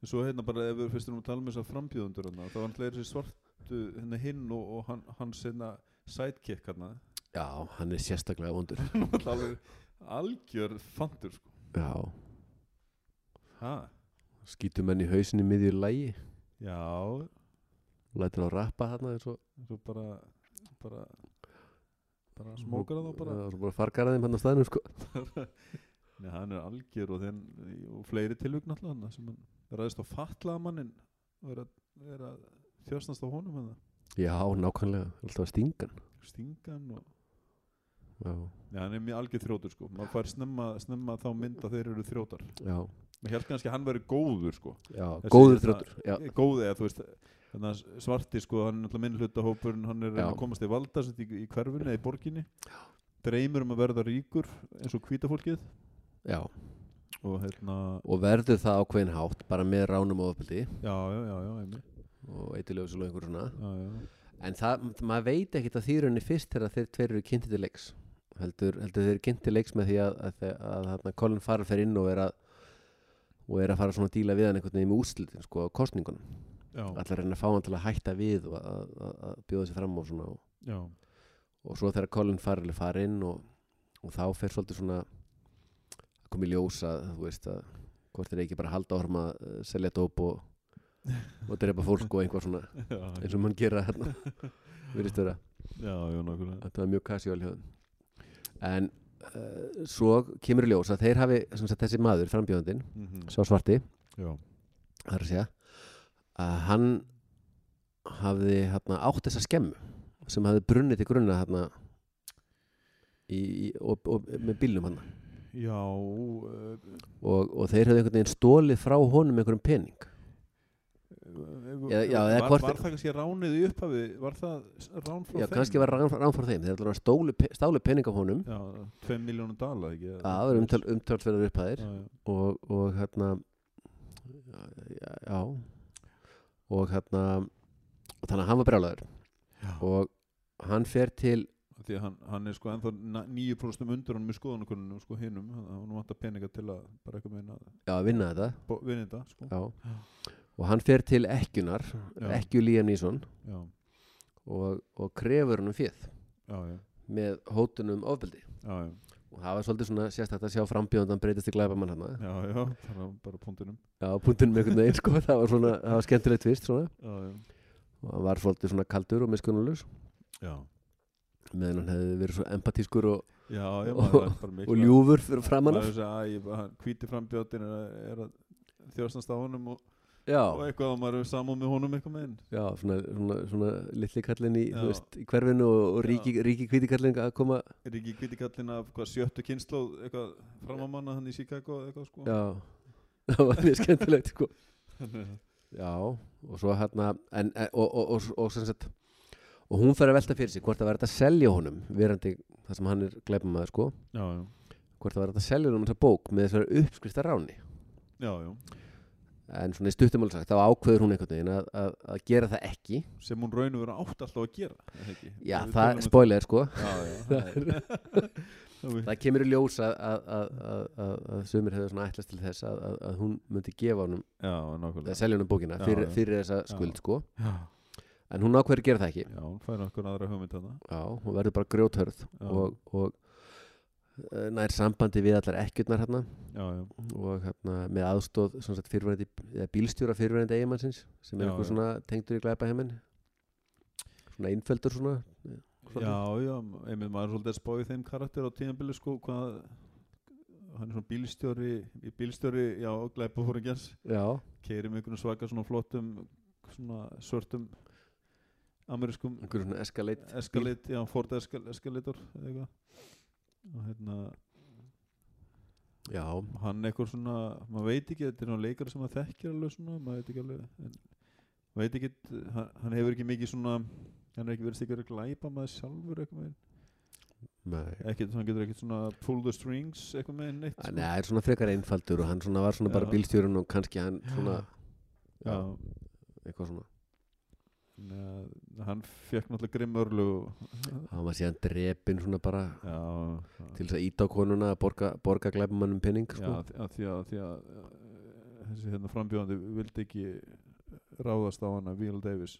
S1: En svo hérna bara ef við fyrst erum að tala um þessar frambjöðundur hann þá var hann leirið sér svartu hérna hinn og, og hann, hans hérna sidekick hann
S2: já, hann er sérstaklega vondur
S1: alveg algjör fandur sko
S2: já,
S1: Ha?
S2: skýtum henni í hausinni miðjur lægi
S1: Já,
S2: lætur hann að rappa þarna eins og
S1: svo bara bara bara smókar það þá bara
S2: Já, svo bara fargar að þeim hann á staðinu sko
S1: Nei, hann er algjör og, þinn, og fleiri tilvík náttúrulega þarna sem hann ræðist á fatlaða mannin og er að, er að þjóstnast á honum hann
S2: já, nákvæmlega, alltaf að stinga hann
S1: stingan og
S2: já,
S1: Nei, hann er mjög algjör þrjótur sko maður fær snemma, snemma þá mynd að þeir eru þrjótar
S2: já,
S1: maður held kannski að hann veri góður sko
S2: já,
S1: Þessi
S2: góður
S1: hérna-
S2: þrjóttur já,
S1: góð eða þú veist þannig að svarti sko hann er alltaf minnhlutahópur hann er að reyna
S2: Já.
S1: að komast í valda sitt í, í hverfinu eða í borginni dreymir um að verða ríkur eins og hvítafólkið
S2: já,
S1: og hérna
S2: og verður það ákveðin hátt bara með ránum og ofbeldi
S1: já já já já, einmitt.
S2: og eitilöfis og einhver svona
S1: já, já.
S2: en það, maður veit ekkert að þýrunni fyrst þegar þeir tveir eru kynnti til leiks heldur, heldur þeir eru kynnti til leiks með því að, að, að, að, að Colin Farrell fer inn og er að og er að fara svona að díla við hann einhvern veginn með úrslitin sko á kostningunum
S1: Já,
S2: allar reyna að fá hann til að hætta við og að, að, að bjóða sér fram og svona og,
S1: já,
S2: og svo þegar Colin Farrell er farinn og, og þá fer svolítið svona að koma í ljósa þú veist að hvort þeir ekki bara að halda orma að eh, selja dóp og, og drepa fólk og einhvað svona
S1: já,
S2: eins og mann gera hérna virðist vera
S1: já, já, nákvæmlega
S2: þetta var mjög casual hjá þeim en uh, svo kemur í ljós að þeir hafi sem sagt, þessi maður, frambjóðandinn,
S1: Mhm,
S2: sá svarti
S1: Já,
S2: það er að segja að hann hafði hérna, átt þessa skemmu sem hafði brunnið til grunna hérna, í, í, og, og, með bílnum hann
S1: já uh,
S2: og, og þeir hafði einhvern veginn stólið frá honum einhverjum pening Já, já, eða
S1: var,
S2: hvort-
S1: var það kannski ránið í upphafi Var það s- rán frá
S2: já,
S1: þeim?
S2: kannski var rán, rán frá þeim þeir allavega stólu, pe- stálu pening af honum
S1: Já, 2 miljónum dala, ekki? eða-
S2: það var umtöl, umtölsverðar upphæðir
S1: Já, já,
S2: og, og hérna já, já og hérna og þannig að hann var brjálæður
S1: já.
S2: og hann fer til
S1: Því að hann, hann er sko ennþá na- 9% undur honum í skoðanakunnum sko hinnum, hann hann vantar peninga til að bara eitthvað meina að
S2: já, að vinna þetta
S1: bo- vinna þetta sko.
S2: já. og hann fer til ekkjunar
S1: Já.
S2: ekkju Liam Neeson
S1: já,
S2: og, og krefur hann um fjöð
S1: já, já,
S2: með hótunum ofbeldi
S1: já, já.
S2: og það var svolítið svona sérstætt að sjá frambjóðandan breytist í glæbamann hann
S1: Já, já, það var bara punktunum
S2: já, punktinum einhvern veginn sko, það var svona, það var skemmtilegt fyrst svona
S1: Já, já,
S2: og hann var svolítið svona kaldur og miskunnulegs
S1: já,
S2: meðan hann hefði verið svo empatískur og,
S1: já, já
S2: Og-
S1: maður er bara mikla-
S2: og ljúfur fyrir framann
S1: Maður er
S2: af
S1: að segja, æ, ég- hann hvíti frambjótin er, að- er að þjóðstast á honum og, og
S2: já,
S1: eitthvað og maður er samúð með honum eitthvað með
S2: já, svona, svona, svona litli kallin í, þú
S1: Já.
S2: veist, í hverfinu og, og
S1: Já.
S2: ríki, ríki hvíti kallin að koma
S1: Er ekki hvíti kallinn af hvað sjöttu kynnslóð eitthvað framamanna hann í Chicago eða eitthvað sko
S2: já, það var mjög skemmtilegt sko.
S1: Þannig
S2: já, og svo hérna en, en, og, og, og, og, sem sagt, og hún fer að velta fyrir sig hvort það var þetta að selja honum verandi það sem hann er glæpamaður sko
S1: að- Já, já,
S2: hvort það var þetta að selja honum þessa bók með þessari uppskrifta ráni
S1: já, já,
S2: en svona í stuttum alveg sagt, þá ákveður hún einhvern veginn að, að, að gera það ekki
S1: sem hún raun og vera átt alltaf að gera er það ekki?
S2: já,
S1: Við
S2: það,
S1: tölum um-
S2: spoiler sko
S1: Já, já, það er Það er-
S2: það kemur í ljós að, að, að, að, að, að sumir hefur svona ætlast til þess að, að, að hún myndi gefa honum,
S1: Já,
S2: að
S1: nákvæmlega
S2: selja honum bókina
S1: Já,
S2: fyrir,
S1: já.
S2: fyrir þessa
S1: Já.
S2: skuld sko
S1: Já,
S2: en hún ákveður að gera það ekki
S1: já, hún fær okkur aðra hugmynd þarna
S2: já, hún verður bara grjóthörð
S1: Já.
S2: og, og eh, nær sambandi við allar ekkjurnar hérna
S1: Já, já,
S2: og hérna með aðstóð sem sagt, fyrirverandi, eða bílstjóra fyrirverandi eigimannsins sem er
S1: Já,
S2: eitthvað
S1: já.
S2: svona tengdur í glæpa svona innföldur svona Svolítið.
S1: Já, já, einmitt maður er svolítið að spá í þeim karakter á tíðanbili sko hvað hann er svona bílstjóri í bílstjóri, já, glæpa fóringjans
S2: já,
S1: keiri með einhvern svaka svona flottum svona svörtum amerískum
S2: einhver svona eskaleit
S1: eskalit, já, Ford eskal, eskalitor eða eitthvað og hérna,
S2: já,
S1: hann eitthvað svona maður veit ekki, þetta er náttúrulega leikari sem maður þekkir alveg svona, maður veit ekki alveg en, maður veit ekki, hann, hann hefur ekki mikið svona hann er ekki verið stikkur að glæpa maður sjálfur eitthvað með
S2: nei
S1: ekkert, hann getur ekkert svona pull the strings eitthvað með neitt sko.
S2: Nei, það er svona frekar einfaldur og hann svona var svona bara
S1: Já.
S2: bílstjórun og kannski hann svona
S1: já,
S2: já, eitthvað svona
S1: neð, hann fekk náttúrulega grimm örlu
S2: hann var síðan drepinn svona bara
S1: já, já,
S2: til þess að íta á konuna að borga, borga glæpumannum penning
S1: já
S2: sko.
S1: því, að, því að því að eh, þessi hérna frambjóðandi vildi ekki ráðast á hana Will Davis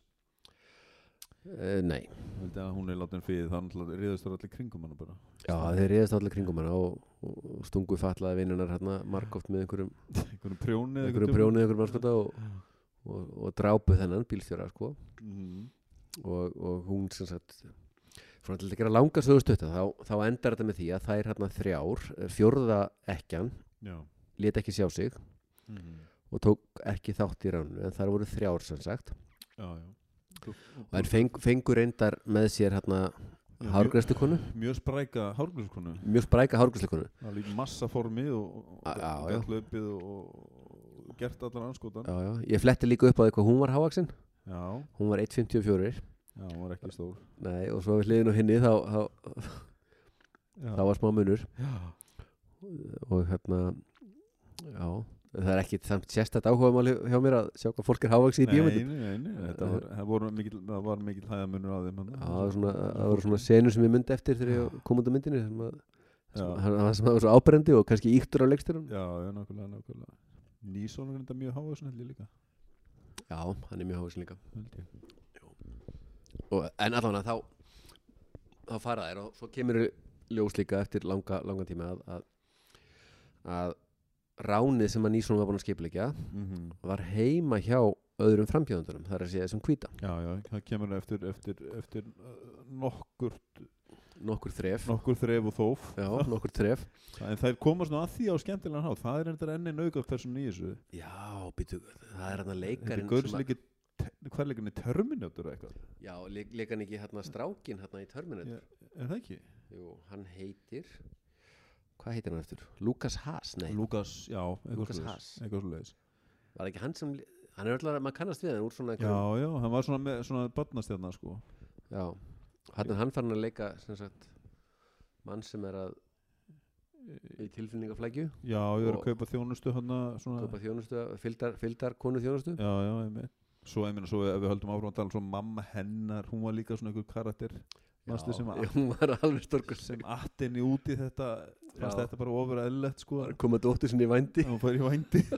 S2: uh, Nei,
S1: vildi að hún er látin fyrir þannig að riðast þar allir kringum hana bara
S2: já þeir reyðast allir kringum hann og, og stungu fatlaði vinnunar hérna margóft með einhverjum,
S1: einhverjum prjóni eða
S2: einhverjum
S1: eitthvað
S2: prjónið einhverjum anskota og, og, og drápu þennan bílstjóra sko.
S1: djúpt. Mhm.
S2: og, og hún sem sagt svona til að gera langa sögustutta þá, þá endar þetta með því að þær hérna þrjár eh, fjórða ekkjan
S1: já
S2: lét ekki sjá sig
S1: Mhm.
S2: og tók ekki þátt í ráninu en þar voru þrjár sem sagt
S1: já, já Þú-
S2: og hann feng, fengur reyndar með sér hérna
S1: Já,
S2: hárgræslikonu
S1: mjög spræka hárglæskonu
S2: mjög spræka hárgræslikonu
S1: alveg í massaformi og, og,
S2: Já, já.
S1: og gætt löpið og, og gert allan anskotan
S2: já, já. ég fletti líka upp á eitthvað hún var hávaksin
S1: Já,
S2: hún var 1.54
S1: já, hún var ekki stór
S2: Nei, og svo við hliðin og henni þá, þá, þá var smá munur
S1: já.
S2: og hérna já, það er ekki samt sérstætt áhugamáli hjá mér að sjá hvað fólk er hávaksin í
S1: Nei,
S2: bíómyndum
S1: nei, nei, nei, þetta var, það voru mikill, það var mikill hæðamunur á þeim
S2: Já, það var svona, það voru svona senur sem ég myndi eftir þegar ég kom út af myndinni sem að,
S1: Já.
S2: sem að, sem að var svo ábrendi og kannski íktur á leikstyrun
S1: Já, já, nákvæmlega, nákvæmlega Níson er þetta mjög háa svona heldur líka
S2: Já, hann er mjög hávaksin líka
S1: held ég.
S2: og, en allavega þá þá fara þær og svo kemur í ljós líka eftir langa, langa tíma að, að, að ránið sem að Nýsson var búin að skipleggja var heima hjá öðrum frambjöðundunum þar að segja þessum hvíta,
S1: Já, já, það kemur eftir, eftir, eftir uh, nokkur,
S2: nokkur þref
S1: nokkur þref og þóf
S2: já, nokkur þref
S1: En þær koma svona að því á skemmtilegan hátt Það er þetta enni naugat person í þessu
S2: já, býtu, það er hann
S1: Þetta er
S2: leikarinn sem að-
S1: gaursleiki, hvað er leikinni, Terminator eða eitthvað
S2: já, leik, leikarinn ekki hérna strákin hérna í Terminator
S1: Já. Er það ekki?
S2: Jú, hann heitir Hvað heitir hann eftir? Lukas Haas, nei
S1: Lukas, já, eitthvað
S2: Lucas
S1: svoleiðis,
S2: Haas.
S1: Eitthvað svoleiðis
S2: Var ekki hann sem Hann er alltaf, maður kannast við hann úr svona
S1: Já,
S2: einhverjum-
S1: já, hann var svona, með- svona barnastjarnar sko
S2: Já Hann er hann fann að leika sem sagt Mann sem er að Í tilfinningaflækju
S1: Já, ég er
S2: Og-
S1: að kaupa þjónustu hana svona
S2: Kaupa þjónustu, fylgdar, fylgdar konu þjónustu
S1: Já, já, einmitt Svo einmitt, svo ef við höldum áfram að tala um svo mamma hennar, hún var líka svona einhver karakter Mastu sem að
S2: Hún var alveg storkur
S1: sem attinni út í þetta fannst
S2: Já.
S1: þetta bara ofur eðlilegt sko
S2: Koma dóttur sinni í vændi
S1: að hún fær í vændi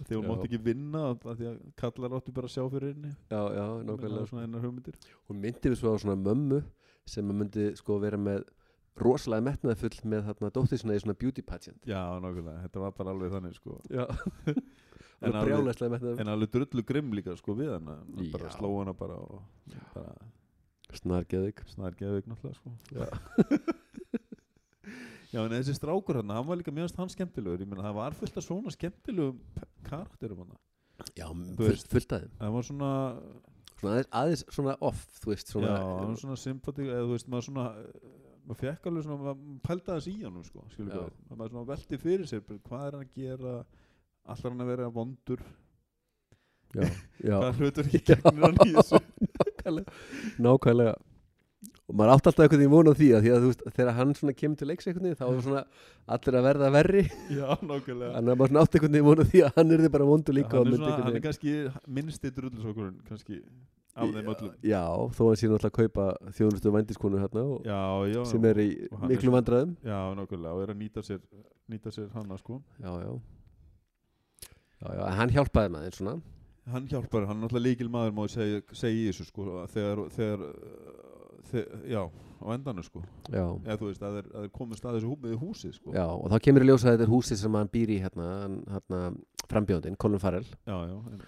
S1: þegar hún
S2: Já.
S1: mátt ekki vinna af af því að kallar áttu bara að sjá fyrir henni
S2: já, já,
S1: Það var
S2: nákvæmlega
S1: svona einar hugmyndir
S2: hún myndi við svo á svona mömmu sem að myndi sko vera með rosalega metnaðfull með þarna dóttir sinna í svona beauty pageant
S1: Já, nákvæmlega, þetta var bara alveg þannig sko
S2: já,
S1: En
S2: alveg
S1: alveg-
S2: brjálæslega metnaðfull
S1: En alveg drullu grimm líka sko við hana Hann bara
S2: Já.
S1: sló hana bara og bara
S2: snargeðig
S1: snar geðveik náttúrulega sko Já, en þessi strákur hann hann var líka mjög hann skemmtilegur ég meina það var fullt af svona skemmtilegum pe- karakterum hann
S2: já,
S1: Þú
S2: full,
S1: veist-
S2: fullt aðeim
S1: Það var svona
S2: svona aðeins, aðeins svona off þú veist
S1: Já,
S2: svona
S1: það var svona sympatík eða þú veist maður svona eh, maður fekk alveg svona maður pælda þess í hann sko skilur
S2: Já.
S1: við maður svona velti fyrir sér bara, hvað er hann að gera allar hann að vera vondur
S2: já, já,
S1: hvað hlutur ekki gegnir hann í þessu
S2: nákvæmlega og maður átti alltaf einhvern veginn vona því að því að þú veist þegar hann svona kemur til leiks einhvern veginn þá er svona allir að verða verri
S1: Já, nákvæmlega
S2: þannig að maður svona átti einhvern veginn vona því að hann er bara vondu líka og
S1: hann, er
S2: myndi
S1: svona,
S2: einhvern
S1: hann er
S2: veginn-
S1: kannski minnsti drullusokkurinn kannski af þeim öllum
S2: já, þó hann sé náttúrulega að kaupa þjónustu vændiskonu hérna og
S1: já, já,
S2: sem er í
S1: og hann er
S2: miklu
S1: svona-
S2: vandræðum
S1: já, nákvæmlega og er að nýta sér, nýta sér hana sko
S2: já, já Já, já, en hann hjálpaði maður svona
S1: hann hjálpar, hann er náttúrulega líkil maður má ég segja, segja í þessu sko þegar, þegar, þegar já, á endanum sko
S2: Já,
S1: eða þú veist, að þeir, að þeir komist að þessu hú, með húsi sko
S2: já og þá kemur í ljós að þetta er húsið sem hann býr í hérna, hann- hérna frambjóndin, Colin Farrell
S1: já, já, en,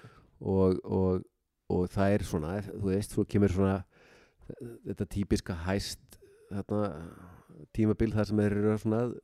S2: og, og, og það er svona, þú veist, þú kemur svona þetta típiska hæst þarna, tímabil þar sem þeir eru svona að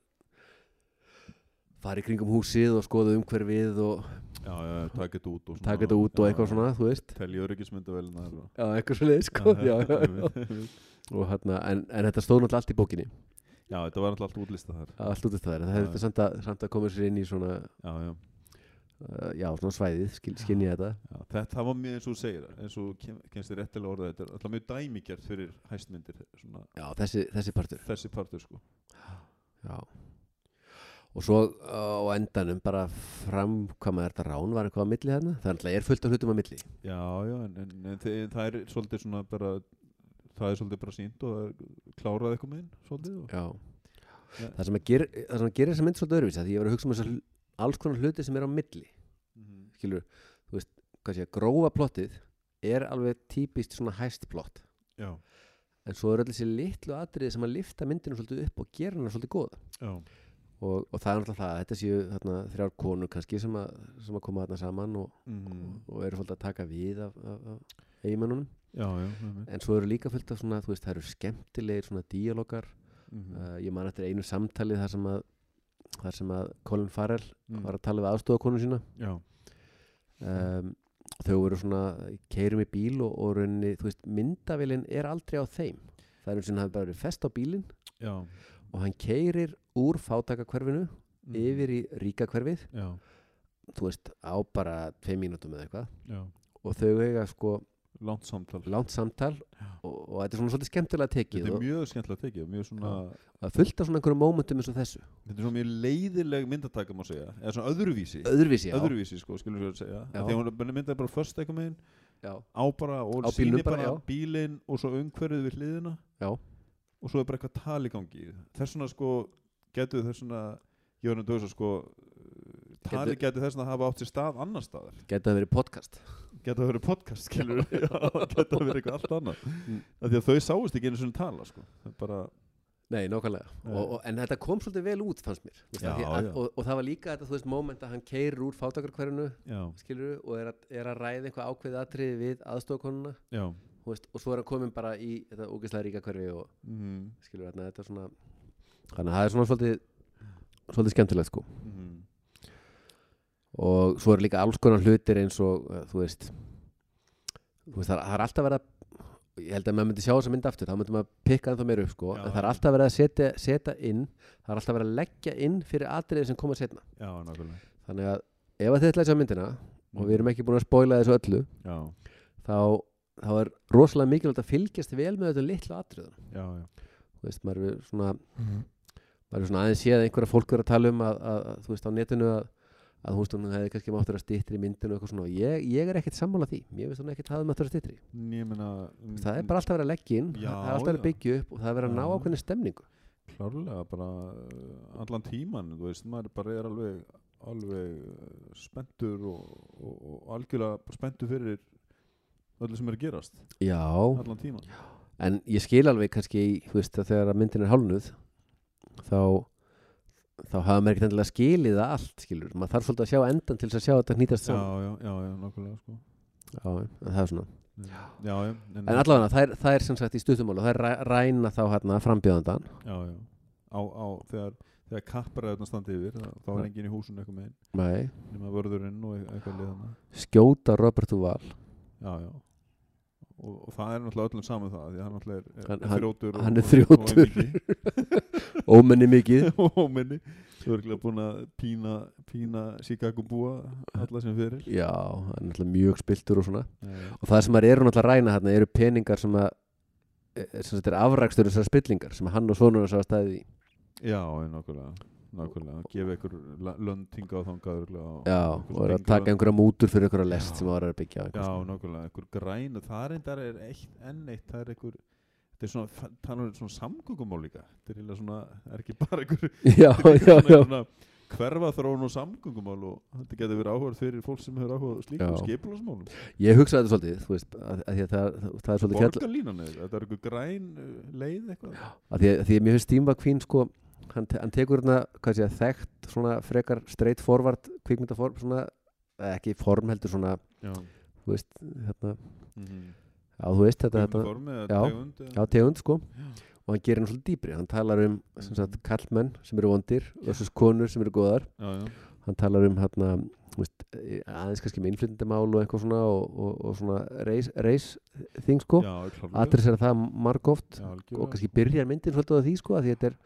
S2: fara í kringum húsið og skoða umhverfið og
S1: já, já, taka þetta út og svona
S2: taka þetta út og eitthvað svona, þú veist
S1: telja öryggismyndavelina þar og-
S2: Já, eitthvað svo leið, sko já, já, já.
S1: einmitt.
S2: Og, hérna, en, en þetta stóð náttúrulega allt í bókinni
S1: já, þetta var náttúrulega allt útlista þar
S2: allt út af það er,
S1: Já,
S2: en það
S1: já.
S2: hefði samt að, samt að koma sér inn í svona,
S1: já, já
S2: uh, já, svona svæðið skil, skinni þetta,
S1: Já, þetta það var mjög eins og þú segir eins og þú kem, kemst þér réttilega orðað þetta er alltaf mjög dæmigjart fyrir hæstmyndir svona,
S2: já, þessi, þessi partur
S1: þessi partur sko
S2: já. og svo uh, á endanum bara framkvæma þetta rán var eitthvað á milli þarna, þannig að er fullt af hlutum á milli
S1: já já en, en, en þi- það er svolítið svona bara það er svolítið bara sínt og það er klárað eitthvað með inn svolítið og,
S2: já,
S1: Nei.
S2: það sem að gera það sem að gera þessa mynd svolítið öðruvísi, af því ég var að hugsa um þessar alls konar hluti sem er á milli
S1: mm,
S2: skilur, þú veist, hvað sé, að grófa plottið er alveg típist svona hæst plott,
S1: já,
S2: en svo er öll þessi litlu atriði sem að lifta myndinu svolítið upp og gera hana svolítið góða
S1: já,
S2: og, og það er náttúrulega það að þetta séu þarna, þrjár konur kannski sem að, sem að koma þarna saman og,
S1: mm,
S2: og eru svolítið að taka við af, af, af eigimennunum
S1: já, já einmitt.
S2: en svo eru líka fullt af svona, þú veist, það eru skemmtilegir svona díalókar
S1: Mhm,
S2: uh, ég man eftir einu samtali þar sem að þar sem að Colin Farrell
S1: mm,
S2: var að tala við aðstofakonu sína
S1: já,
S2: um, þau voru svona keirum í bíl og, og rauninni, þú veist, myndavélinn er aldrei á þeim það er um sinni hafi bara verið fest á bílinn
S1: já
S2: og hann keirir úr fátakakverfinu
S1: mm,
S2: yfir í ríkakverfið
S1: já,
S2: þú veist, á bara tvei mínútum eða eitthvað
S1: já,
S2: og þau eiga sko
S1: langt samtal
S2: langt samtal og, og þetta er svona svolítið skemmtilega tekið
S1: þetta er
S2: og
S1: mjög skemmtilega tekið mjög svona
S2: og það er fullt af svona einhverjum mómentum eins og þessu
S1: þetta er svona mjög leiðileg myndataka má segja eða svona öðruvísi
S2: öðruvísi, já,
S1: öðruvísi sko, skilur við að segja
S2: Já.
S1: Af því að hún er- myndaði bara först eitthvað megin
S2: já,
S1: á bara og
S2: Á
S1: sýnir
S2: bílnum bara, já.
S1: bílinn og svo umhverfið við hliðina
S2: Já.
S1: og svo er bara eitthvað tal í gangi þess vegna sko getur þess vegna ég var nefndi að hugsa sko tali
S2: Gæti-
S1: getur þess vegna að hafa átt sér stað annar staðar
S2: geta það verið podcast
S1: getur að vera podcast skilur við getur að vera eitthvað allt annað
S2: Mm.
S1: af því að þau sáist ekki einu svona tala sko Það er bara,
S2: nei, nákvæmlega,
S1: Nei.
S2: og, og, en þetta kom svolítið vel út fannst mér, Þú veist,
S1: Já,
S2: af því að,
S1: já.
S2: og, og það var líka þetta, þú veist, moment að hann keirir úr fátakakverfinu
S1: já,
S2: skilur og er að, er að ræða einhvað ákveðið atriði við aðstofakonuna
S1: já
S2: þú veist, og svo er hann komin bara í þetta ógeðslega ríkakverfi og
S1: mm,
S2: skilur þarna, þetta er svona þannig að það er svona svolítið svolítið skemmtilegt sko
S1: mm,
S2: og svo eru líka alls konar hlutir eins og uh, þú veist, þú veist það, er- það er alltaf verið að ég held að maður myndi sjá þessa mynd aftur, þá myndi maður pikka ennþá meira upp sko,
S1: Já,
S2: en það er
S1: já.
S2: alltaf verið að setja, setja inn, það er alltaf verið að leggja inn fyrir atriði sem koma setna
S1: já, nákvæmlega
S2: þannig að ef að þið ætlaði sjá myndina og við erum ekki búin að spoila þessu öllu
S1: já,
S2: þá, þá er rosalega mikilvægt að fylgjast vel með þetta litlu atriðum
S1: já, já
S2: þú veist, maður er svona maður er svona aðeins séð að einhverja fólk verið að tala um að, að, að þú veist á netinu að, að hún stóðum hefði kannski mátt vera stýttri í myndinu og eitthvað svona og ég, ég er ekkert sammála því mér finnst hún ekkert hafa mátt vera stýttri
S1: En ég meina mm,
S2: það er bara alltaf verið að leggja inn
S1: Já,
S2: það er alltaf verið að
S1: já.
S2: byggja upp og það er verið að ná
S1: Já.
S2: ákveðni stemningu
S1: eh, klárlega bara uh, allan tíman þú veist maður bara er alveg alveg eh, spenntur og, og, og algjörlega bara spenntur fyrir öllu sem er að gerast
S2: já,
S1: allan tíma
S2: en ég skil alveg kannski þú veist að þegar að myndin er hálnuð þá þá hafa maður ekkert endilega skilið það allt skilur, maður þarf svolítið að sjá endan til þess að sjá þetta
S1: já,
S2: hnýtast saman
S1: já, já, já, nákvæmlega sko.
S2: já, en það er svona
S1: já, já, en,
S2: en allavega, það er, það er sem sagt í stuttumála það er ræna þá hérna frambjöðandan
S1: já, já. Á, á, þegar, þegar kappræðurna standi yfir þá, þá er enginn í húsinu eitthvað megin
S2: Nei.
S1: nema vörðurinn og e- eitthvað liðana
S2: skjóta Robert Duval
S1: já, já og, og það er náttúrulega öllum saman það því að hann náttúrulega er,
S2: Hann-
S1: er
S2: hann-
S1: þrjótur
S2: hann er
S1: og,
S2: þrjótur. ómenni mikið
S1: og, og minni þú er ekki búin að pína, pína Chicago búa alla sem fyrir
S2: já, hann er náttúrulega mjög spiltur og svona
S1: já,
S2: og það sem maður eru náttúrulega að ræna hérna eru peningar sem að eh, sem þetta er afrakstur þessar spillingar sem hann og sonur hans hafa staðið í
S1: já, já, nákvæmlega nákvæmlega, gefa ykkur la- lönd hingað og þangað örugglega og-
S2: já,
S1: einhver
S2: og er að
S1: stingur
S2: taka
S1: að-
S2: einhverja mútur fyrir einhverja
S1: Já.
S2: lest sem maður er að byggja á
S1: já,
S2: einhvers staðar.
S1: nákvæmlega, einhver græn það er eindar er eitt enn eitt það er einhver þetta er svona, fa- tala um svona samgöngumál líka þetta er eiginlega svona, er ekki bara einhver
S2: já, já, já,
S1: svona hverfa þróun og samgöngumál og þetta getur verið áhverð fyrir fólk sem hefur áhverð slíkum
S2: Já.
S1: skipulagsmálum
S2: ég hugsaði þetta svolítið þú veist, að, að, því að það, það, það er svolítið fjall
S1: borgarlínan er, þetta er einhver græn uh, leið eitthvað
S2: að því, að, því að mér finnst Steve McQueen sko, hann, te hann tekur hérna hvað sé að þekkt svona frekar straight forward kvikmyndaform svona eh, ekki form heldur svona
S1: já,
S2: þú veist hérna
S1: mm -hmm.
S2: já þú veist þetta,
S1: þetta,
S2: þetta
S1: formið,
S2: já,
S1: tegund,
S2: já tegund sko og hann gerir hann svolítið dýpri hann talar um sem
S1: Mhm.
S2: sagt kallmenn sem eru vondir versus konur sem eru góðar
S1: já, já,
S2: hann talar um hérna þú veist, eh, aðeins kannski með innflytendamál og eitthvað svona og, og, og svona race, race thing sko
S1: já, klárlega.
S2: adressera það margóft
S1: Já, algjörlega.
S2: og kannski byrjar myndin svolítið á því sko að því þetta er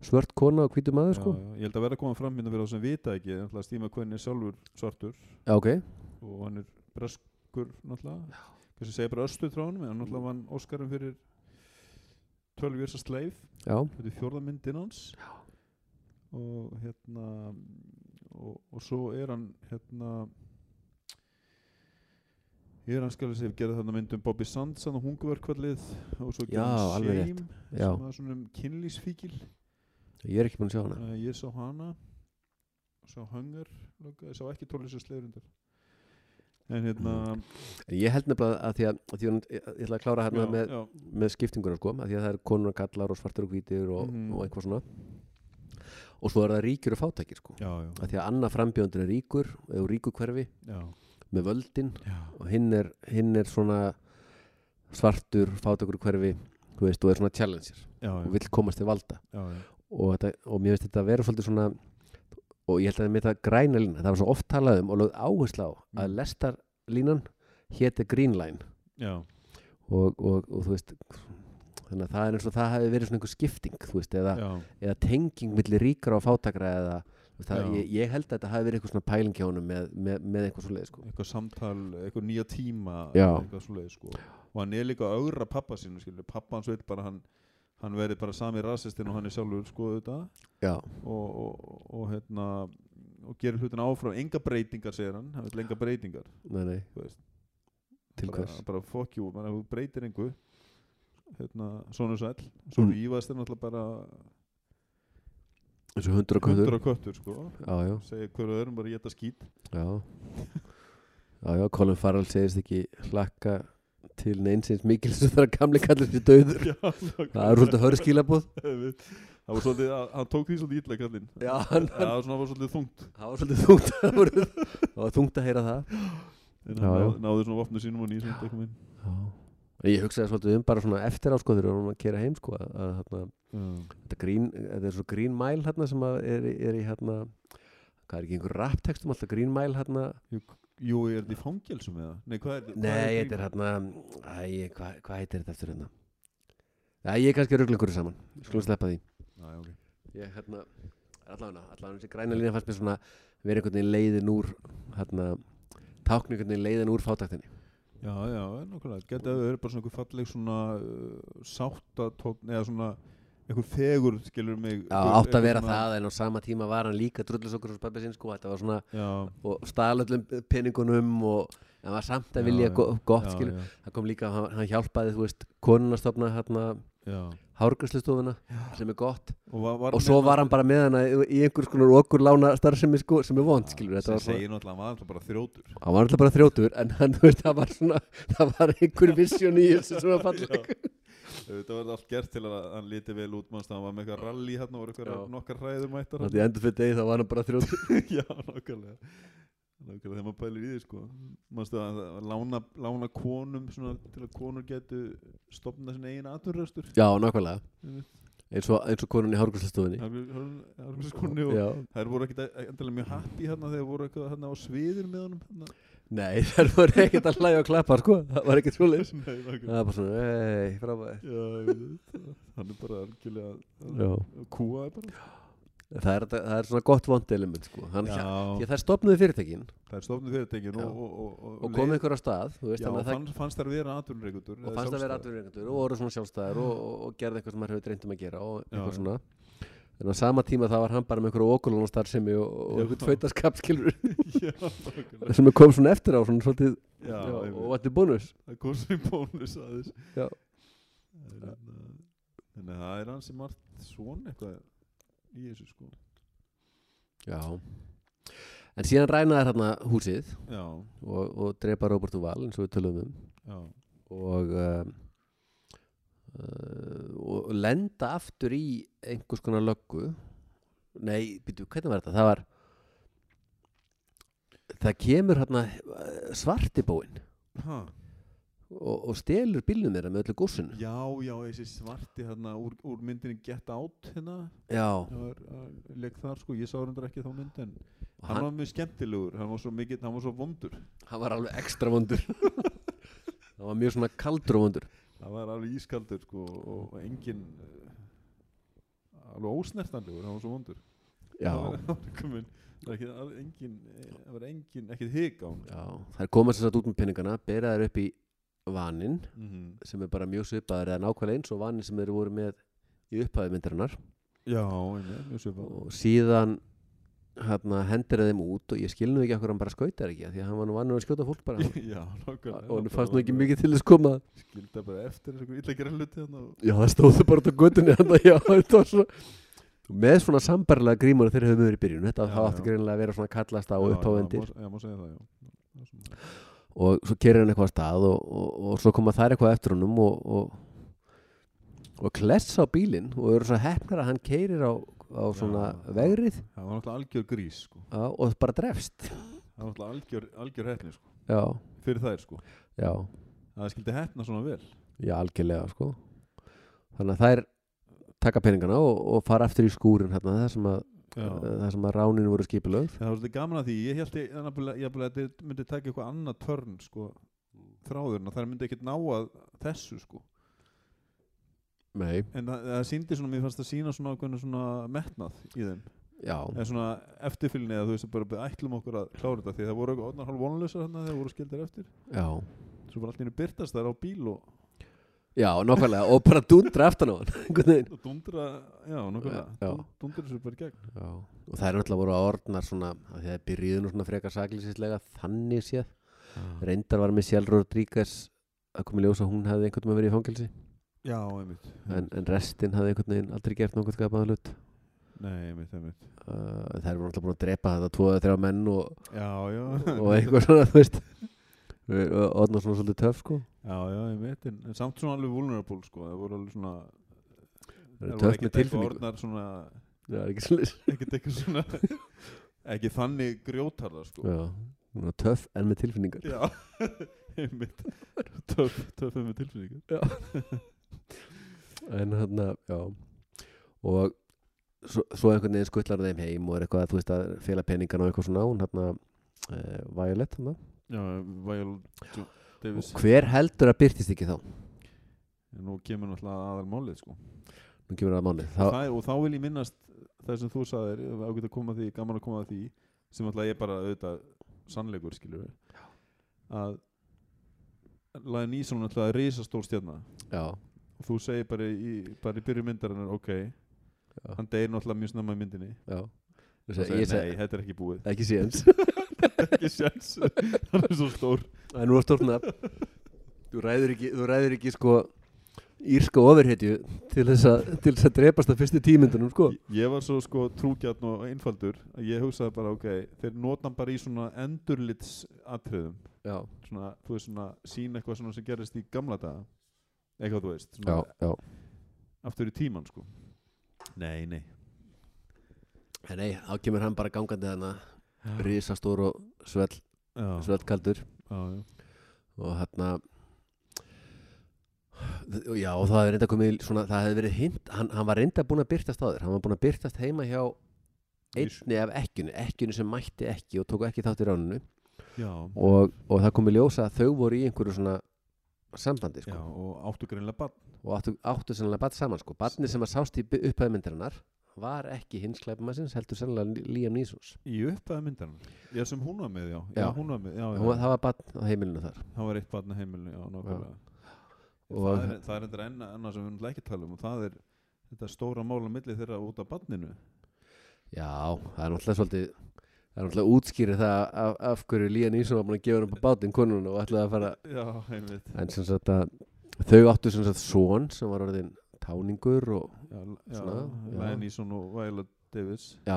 S2: svört kona og hvítu maður sko
S1: já, já, ég held að vera að koma fram hérna fyrir þá sem vita ekki en alltaf Stíma Kvenn er sjálfur svartur
S2: Já, ok.
S1: og hann er breskur náttúrulega, kannski segja bara östu trónum en náttúrulega vann Óskarum fyrir 12 years a slave
S2: Já,
S1: þetta er fjórða myndin hans og hérna og, og svo er hann hérna er hann skal við segja gerði þarna mynd um Bobby Sands hann og hungurverkvallið og svo gerði
S2: Já,
S1: hann
S2: alveg
S1: Shame,
S2: rétt. já.
S1: sem var svona um kynlýsfíkil
S2: Ég er ekki búinn að sjá hana.
S1: uh, ég sá hana sá Hunger loka, ég sá ekki tólisins sleirundar en hérna
S2: En ég held nefnilega að því að, að því að hún- ég ég ætla að klára hérna
S1: já,
S2: með,
S1: já,
S2: með skiptinguna sko, að því að það eru konur og kallar og svartur og hvítir og,
S1: Mhm.
S2: og eitthvað svona. Og svo er það ríkjur og fátækir sko.
S1: já,
S2: Að því að annað frambjöndur er ríkur, er úr ríku hverfi
S1: já,
S2: með völdin
S1: já,
S2: og hinn er, hinn er svona svartur, fátækur hverfi, þú veist, og er svona challenger
S1: já,
S2: og vill komast til valda.
S1: já, já,
S2: og, þetta, og mér finnst þetta að vera svolítið svona og ég held að það er með það græna lína það var svo oft talað um og lögð áhersla á að
S1: Mm.
S2: lestarlínan héti Green Line
S1: já,
S2: og, og, og þú veist þannig að það er eins og það hefði verið svona einhver skipting þú veist, eða,
S1: já,
S2: eða tenging milli ríkra og fátakra eða þú veist, það,
S1: Já.
S2: ég, ég held að þetta hafi verið eitthvað svona pæling hjá honum með, með, með eitthvað svo leið sko.
S1: eitthvað samtal, eitthvað nýja tíma
S2: Já.
S1: eitthvað svoleið sko og hann er líka að augra pappa sínu skilur pappa hans veit bara að hann hann verið bara sami rasistinn og hann er sjálfur sko þetta
S2: já,
S1: og, og, og, hérna og gerir hlutin áfram, enga breytingar segir hann, hann vil enga breytingar
S2: nei, nei,
S1: Þú veist.
S2: til
S1: bara,
S2: hvers
S1: bara fuck you, bara þú breytir engu hérna, svona sæll svo
S2: Mm.
S1: rífast er náttúrulega bara
S2: eins og hundur og
S1: hundur
S2: kvöldur
S1: og köttur sko
S2: já, já,
S1: segja hverju öðrum bara geta skít
S2: já já, já, Colin Farrell segist ekki hlakka til neinsins mikil sem það er gamli kallir sér döður
S1: Já,
S2: Það er svolítið hörð skilabóð
S1: við- það var svolítið, að- hann tók því svolítið illa kallinn
S2: Já,
S1: það
S2: hann-
S1: var svona var svolítið þungt
S2: Það var svolítið þungt Það var, það var þungt að heyra það
S1: en
S2: Já,
S1: hann
S2: já.
S1: náði, náði svona vopnu sínum og nýsund eitthvað minn
S2: En Ég hugsaði svolítið um bara svona eftir á sko þegar við vorum að kera heim sko að, að hérna, þetta grín, þetta er svo grín mæl hérna sem að er, í- er í hérna hvað er ekki einhver raptextum alltaf grín mæl hérna
S1: jú, er þetta í fangelsum eða? nei, hvað er hvað
S2: Nei,
S1: grín-
S2: þetta er hérna Æ, hvað, hvað heitir þetta eftir hérna? Æ, ég er kannski að rugla einhverju saman Við Skulum sleppa því
S1: Æ, ok.
S2: Ég hérna allavega, allavega þessi græna lína fannst mér svona vera einhvern veginn leiðin úr hérna, tákn einhvern veginn leiðin úr fátæktinni
S1: já, já, nákvæmlega geta að vera bara svona einhver falleg svona uh, sáttatókn eða svona einhver fegur skilur mig
S2: Já,
S1: einhver-
S2: átt að
S1: einhver
S2: vera
S1: svona-
S2: það en á sama tíma var hann líka drullusokkur hos pappi sinn sko, þetta var svona
S1: já,
S2: og stalallum peningunum og en var samt að
S1: Já,
S2: vilja
S1: já.
S2: go gott
S1: já,
S2: skilur,
S1: já.
S2: það kom líka hann, hann hjálpaði þú veist konuna að stopna hérna
S1: já.
S2: hárgræslistofuna sem er gott
S1: Og, var, var
S2: og svo var hann bara með hana í- í einhvers konar okkur lána starfsemi sko sem er vond skilur
S1: þetta
S2: þetta var bara,
S1: segir náttúrulega, hann var alltaf bara þrjótur
S2: hann var alltaf bara þrjótur en hann, þú veist, það var svona það var einhver visjón í þessu sem var falleg
S1: Þetta var allt gert til að hann líti vel út mannst hann var með eitthvað rally hérna og voru eitthvað
S2: Já.
S1: nokkar ræður mættar
S2: þannig að endur fyrir degi þá var hann bara þrjótur
S1: Já, nákvæmlega Nákvæmlega þegar maður pælir í því sko Manstu að að lána, lána konum svona, til að konur getu stopna sinna eigin aturröstur
S2: já, nákvæmlega
S1: Einmitt.
S2: eins og, eins og konun í hárgræslistofunni
S1: Harmskonni og
S2: já,
S1: þær voru ekkit endilega mjög happy hérna þegar voru eitthvað hérna á sviðir með honum hérna.
S2: nei, þær voru ekkert að hlæja og klappa sko, það var ekkert svoleiðis
S1: Nei,
S2: það
S1: nákvæmlega
S2: var bara svona, ei, frábæð
S1: Já, ég veit það. Hann er bara algjörlega
S2: já,
S1: Kúa er bara
S2: það er, það er svona gott vond element sko, hann, já.
S1: Já,
S2: því að þær stopnuðu fyrirtækin
S1: það er stofnum fyrirtekin
S2: Já.
S1: og, og, og, og,
S2: og komið ykkur á stað þú veist,
S1: Já,
S2: þannig að það
S1: fannst, fannst þær vera aturröstur
S2: og fannst að vera atvinnureikendur og voru svona sjálfstæðar og, og, og gerði eitthvað sem maður hefur dreymt um að gera og eitthvað
S1: Já, já.
S2: svona en á sama tíma það var hann bara með einhverju okulónastarfsemi og, og
S1: Já.
S2: einhverju tveitaskap skilur
S1: Já, nákvæmlega
S2: sem kom svona eftir á svona svolítið
S1: Já,
S2: já,
S1: einmitt.
S2: og vatni bónus
S1: það kom sem bónus aðeins
S2: Já.
S1: Það er hérna- þannig að það er hans sem margt svona eitthvað í þessu sko
S2: já en síðan rænaði hérna húsið
S1: já,
S2: og, og drepa Robert Duval eins og við tölum um
S1: já,
S2: og um, uh, og lenda aftur í einhvers konar löggu nei, býtu, hvernig var þetta? það var það kemur hérna svartibóin
S1: ha,
S2: og, og stelur bílnum þeirra með öllu góssinu
S1: já, já, þessi svarti þarna úr, úr myndinni Get Out hérna,
S2: já,
S1: það var að leik þar sko, ég sá hendur ekki þá mynd en
S2: og
S1: hann
S2: hann,
S1: var mjög skemmtilegur, hann var svo mikill, hann var svo vondur
S2: hann var alveg ekstra vondur hann var mjög svona kaldur og vondur
S1: það var alveg ískaldur sko og, og engin alveg ósnertanlegur, hann var svo vondur
S2: já,
S1: það var, það var komin, það var ekki, alveg engin það var engin, ekkit hik á hann
S2: já, þær koma sem sagt út með peningana bera þær upp í vaninn
S1: mm
S2: sem er bara mjög svipaður eða nákvæmlega eins og vaninn sem þeir voru með í upphæði myndarinnar
S1: Já, einmitt, mjög svipað
S2: og síðan hérna, hendir þeim út og ég skil nú ekki okkur hann bara skautar ekki af því að hann var nú vannur að skjóta fólk bara
S1: Já, nákvæmlega
S2: og hann fannst nú ekki mikið til þess koma
S1: Skilda bara eftir þessu illa gera hluti hann og
S2: já það stóðu bara út á göttunni hann já þetta var svona Og með svona sambarlega grímur þeir höfum verið í byrjun þetta
S1: Já,
S2: þá átti
S1: já.
S2: greinilega að vera svona kallast á
S1: Já,
S2: uppávendir
S1: Já, má- já, má segja það, já Það var svona-
S2: og svo kerir hann eitthvað af stað og, og, og svo koma þær eitthvað eftir honum og, og, og klessa á bílinn og eru svo hefnar að hann keirir á, á svona
S1: Já.
S2: vegrið
S1: Það var náttúrulega algjör grís, sko
S2: já, og bara drefst
S1: Það var náttúrulega algjör, algjör hefni, sko
S2: já,
S1: Fyrir þær, sko
S2: já
S1: Að það skildi hefna svona vel
S2: Já, algjörlega sko Þannig að þær taka peningana og, og fara aftur í skúrin hérna, það, sem að, eh, það sem að ránin voru skipulögð
S1: Það var svolítið gaman að því Ég held ég nefnilega- ég nefnilega að þetta myndi taka eitthvað annað törn, sko Þráðurinn og þær myndi ekkert ná að þessu, sko
S2: Nei,
S1: En það, það síndi svona, mér fannst það sína svona ákveðna svona metnað í þeim
S2: já,
S1: eða svona eftirfylgni eða þú veist bara við ætlum okkur að klára þetta því það voru eitthvað orðnar hálf vonlausar þarna þegar voru skildar eftir
S2: já
S1: svo bara allt í henni byrtast þær á bíl og,
S2: Já, nákvæmlega, og bara dundra aftan á hann einhvern veginn.
S1: og dundra já,
S2: Já, já.
S1: nákvæmlega, dundra þessu bara í gegn
S2: Já, og það er náttúrulega voru að orðnar svona, af því að þeir byrjuðu nú svona frekar saklýsinslega þannig séð, reyndar var með sjálf Rodríguez að koma í ljós að hún hefði einhvern veginn verið í fangelsi
S1: já, einmitt
S2: en, en restin hefði einhvern veginn aldrei gert nokkuð skapaða hlut uh,
S1: nei, einmitt, einmitt
S2: Það er náttúrulega búin að drepa þetta tvo eða þrjá menn og,
S1: já, já,
S2: og eitthvað svona, þú veist Odnar svona svolítið töf sko
S1: já, já, einmitt en, en samt svona alveg vulnerable sko það voru alveg svona
S2: Það eru
S1: þær
S2: töff
S1: ekkert
S2: með
S1: eitthvað
S2: tilfinningu
S1: orðnar svona
S2: Já, það er ekki slis
S1: ekkert eitthvað svona ekki þannig grjótarða sko
S2: Já, hún er töff en með tilfinningar
S1: já, einmitt töf, töfum með tilfinningar
S2: En hann já Og svo, svo einhvern veginn skuttlar þeim heim og er eitthvað að þú veist að fela peningan og eitthvað svona hún hann að Violet hann
S1: já, Viola Jo- Davis
S2: Og hver heldur að byrtist ekki þá?
S1: En nú kemur náttúrulega aðal málið sko.
S2: Nú kemur það að málið
S1: Þa,
S2: Þá,
S1: og þá vil ég minnast það sem þú sagðir, ef ágætt að koma að því, gaman að koma að því sem náttúrulega ég bara auðvitað sannleikur skilur við að Læðin Ísson er náttúrulega risastór stjarna
S2: já,
S1: og þú segir bara í, bara í byrju myndarinnar ok,
S2: Já.
S1: hann deyr náttúrulega mjög snemma í myndinni
S2: já Þú
S1: og
S2: segir- Ég
S1: segir
S2: segi
S1: nei, þetta er ekki búið
S2: ekki síðans
S1: ekki sjans, hann er svo stór
S2: Það er nú að stórna Þú ræður ekki, þú ræður ekki sko írska ofurhetju til þess að, til þess að drepast á fyrstu tímyndunum sko.
S1: Ég- Ég var svo sko trúgjarn og einfaldur að ég hugsaði bara ok, þeir nota hann bara í svona endurlits atriðum
S2: Já,
S1: svona, þú veist svona, sín eitthvað svona sem gerist í gamla daga eitthvað þú veist,
S2: já,
S1: svona
S2: já
S1: aftur í tíman sko Nei, nei
S2: En nei, þá kemur hann bara gangandi hana risastór og svell,
S1: Já, já,
S2: svellkaldur
S1: já.
S2: og hérna og já og það hefði reynda komið í svona, það hefði verið hint hann, hann var reynda búin að byrtast áður hann var búin að byrtast heima hjá
S1: Ís-
S2: einni af ekkjunni, ekkjunni sem mætti ekki og tóku ekki þátt í ráninu
S1: já,
S2: og, og það komið ljósa að þau voru í einhverju svona sambandi
S1: já
S2: sko,
S1: og áttu greinlega barn
S2: og áttu, áttu sennilega bat saman sko. batni sem að sást í upphæðu myndarinnar var ekki hins klæpumassins heldur sennilega Liam sko. Neesons
S1: í uppæðu myndarinn Já, sem hún var með, já, já.
S2: Já.
S1: hún var með, já, já.
S2: Hún var- það var batn á heimilinu þar
S1: það var eitt barn á heimilinu, já, nákvæmlega
S2: Og-
S1: það, er, það er endur enn annað sem við erum ekki að tala um og það er þetta stóra mál á milli þeirra út af barninu
S2: Já, það er náttúrulega svolítið Það er náttúrulega útskýrið það af, af hverju Líðan Ísson var búin að gefa hann upp á bátinn konun og ætlaði að fara
S1: Já, heimilt
S2: En sem sagt að þau áttu sem sagt son sem var orðin táningur og
S1: Já, já,
S2: Svona, já.
S1: Lion Eason og Viola Davis
S2: já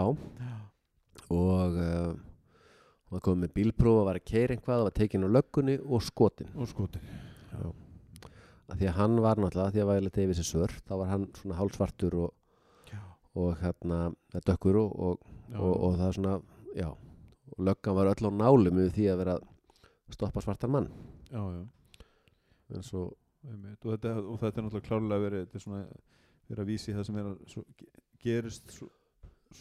S2: og uh, hún var komið með bílpróf og var að keira einhvað og var tekin á löggunni og skotin
S1: og skotin
S2: að því að hann var náttúrulega, af því að væla Davis er svör þá var hann svona hálsvartur og,
S1: Já.
S2: og hérna dökkur og, og
S1: Já,
S2: og, og það er svona, já og löggan var öll á nálum við því að vera að stoppa svartan mann
S1: já, já,
S2: en svo,
S1: einmitt. og þetta, og þetta er náttúrulega klárlega verið þetta er svona verið að vísi það sem er að svo, ge- gerist svo,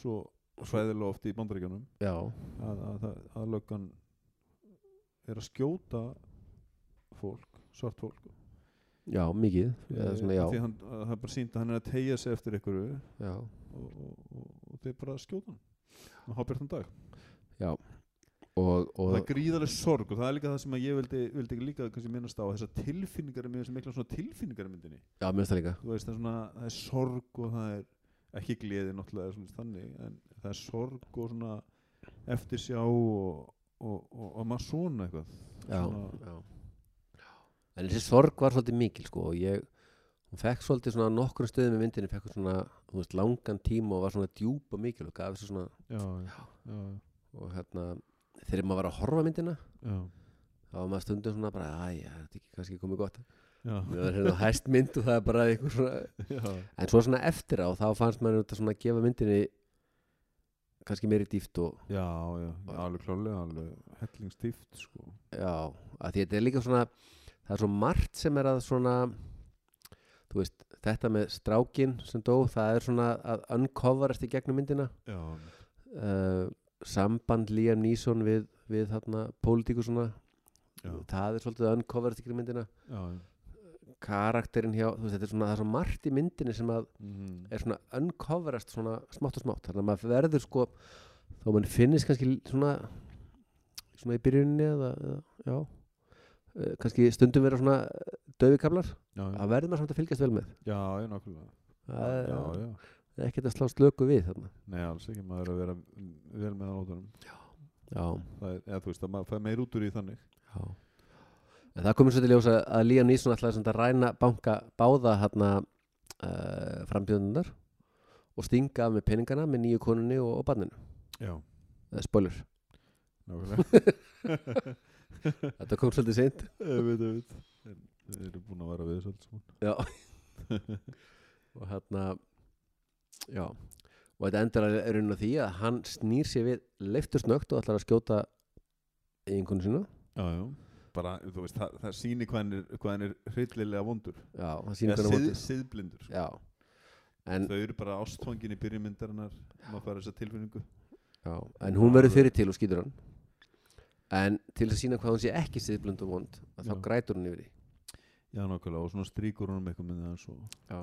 S1: svo hræðilega oft í bandaríkjanum
S2: já,
S1: að, að, það- að löggan er að skjóta fólk, svart fólk
S2: já, mikið eða
S1: Eh,
S2: svona, já,
S1: því hann, að það er bara sínt að hann er að tegja sig eftir einhverju og,
S2: já,
S1: og, og, og þeir bara skjóta hann og hafa byrtan dag
S2: og, og
S1: það er gríðarlega sorg og það er líka það sem að ég vildi, vildi líka kannski minnast á þessar tilfinningar með þessum mikla svona tilfinningar í myndinni
S2: já, mér finnst það líka
S1: þú veist það er svona, það er sorg og það er ekki gleði náttúrulega eða svona þannig en það er sorg og svona eftirsjá og, og, og, og maður svona eitthvað
S2: já,
S1: Svona-
S2: já. en þessi sorg var svolítið mikil sko og ég, hún fekk svolítið svona á nokkrum stöðum í myndinni, fekk hún svona þú veist, langan tíma og var svona djúpa mikil og gaf þessu svona,
S1: já, já,
S2: og hérna þegar maður var að horfa á myndina
S1: já,
S2: þá var maður stundum svona bara, æja, þetta er ekki kannski komið gott
S1: já,
S2: það er hérna hæst mynd og það er bara einhver svona
S1: já.
S2: En svo svona eftir á þá fannst maður þetta svona að gefa myndinni kannski meiri dýft og
S1: Já, já, alveg klálega, alveg hellingstift sko.
S2: já, að því þetta er líka svona það er svo margt sem er að svona þú veist, þetta með strákin sem dó, það er svona að uncoverast í gegnum myndina
S1: Já,
S2: uh, samband Liam Neeson við, við þarna pólitíku svona
S1: já,
S2: það er svolítið að uncoverast í gegnum myndina
S1: já,
S2: karakterinn hjá, þú veist, þetta er svona það er svo margt í myndinni sem að
S1: mhm,
S2: er svona uncoverast svona smátt og smátt þannig að maður verður sko þó mann finnist kannski l- svona svona í byrjunni eða, eða já, eh, kannski stundum vera svona döfikablar,
S1: já, já,
S2: það verður maður samt að fylgjast vel með
S1: já, já, nákvæmlega
S2: það er-
S1: Já, já,
S2: það er ekkert að slá slöku við þarna
S1: nei, alls ekki, maður er að vera vel með á nótunum
S2: já,
S1: Það er, eða þú veist, að maður fær meir út úr í þannig
S2: já en það komur svo til ljós að- að Líam Nýsson ætlaði samt að ræna banka báða hérna uh, frambjöðunar og stinga af með peningana með nýju konunni og, og barninu,
S1: Já,
S2: það er spoiler
S1: nákvæmlega
S2: þetta kom svolítið seint
S1: Ég veit, ég veit En Þeir eru búin að vera sko. við þessu allt saman
S2: og hérna já og þetta endar að raun á því að hann snýr sér við leiftur snögt og ætlar að skjóta eiginkonu sína
S1: Já, já Bara, þú veist, það, það sýnir hvað hann er, hvað hann er hryllilega vondur
S2: já, hann sýnir
S1: Eða sið,
S2: hvernig móti
S1: siðblindur sko.
S2: já, en,
S1: Þau eru bara ástfangin í byrjumyndarinnar Maður fær þessa tilfinningu
S2: já, en hún verður fyrir til og skýtur hann en til að sína hvað hún sé ekki siðblönd og vond að þá
S1: Já.
S2: grætur hún yfir því
S1: Já, nákvæmlega, og svona stríkur honum eitthvað með það svo
S2: já.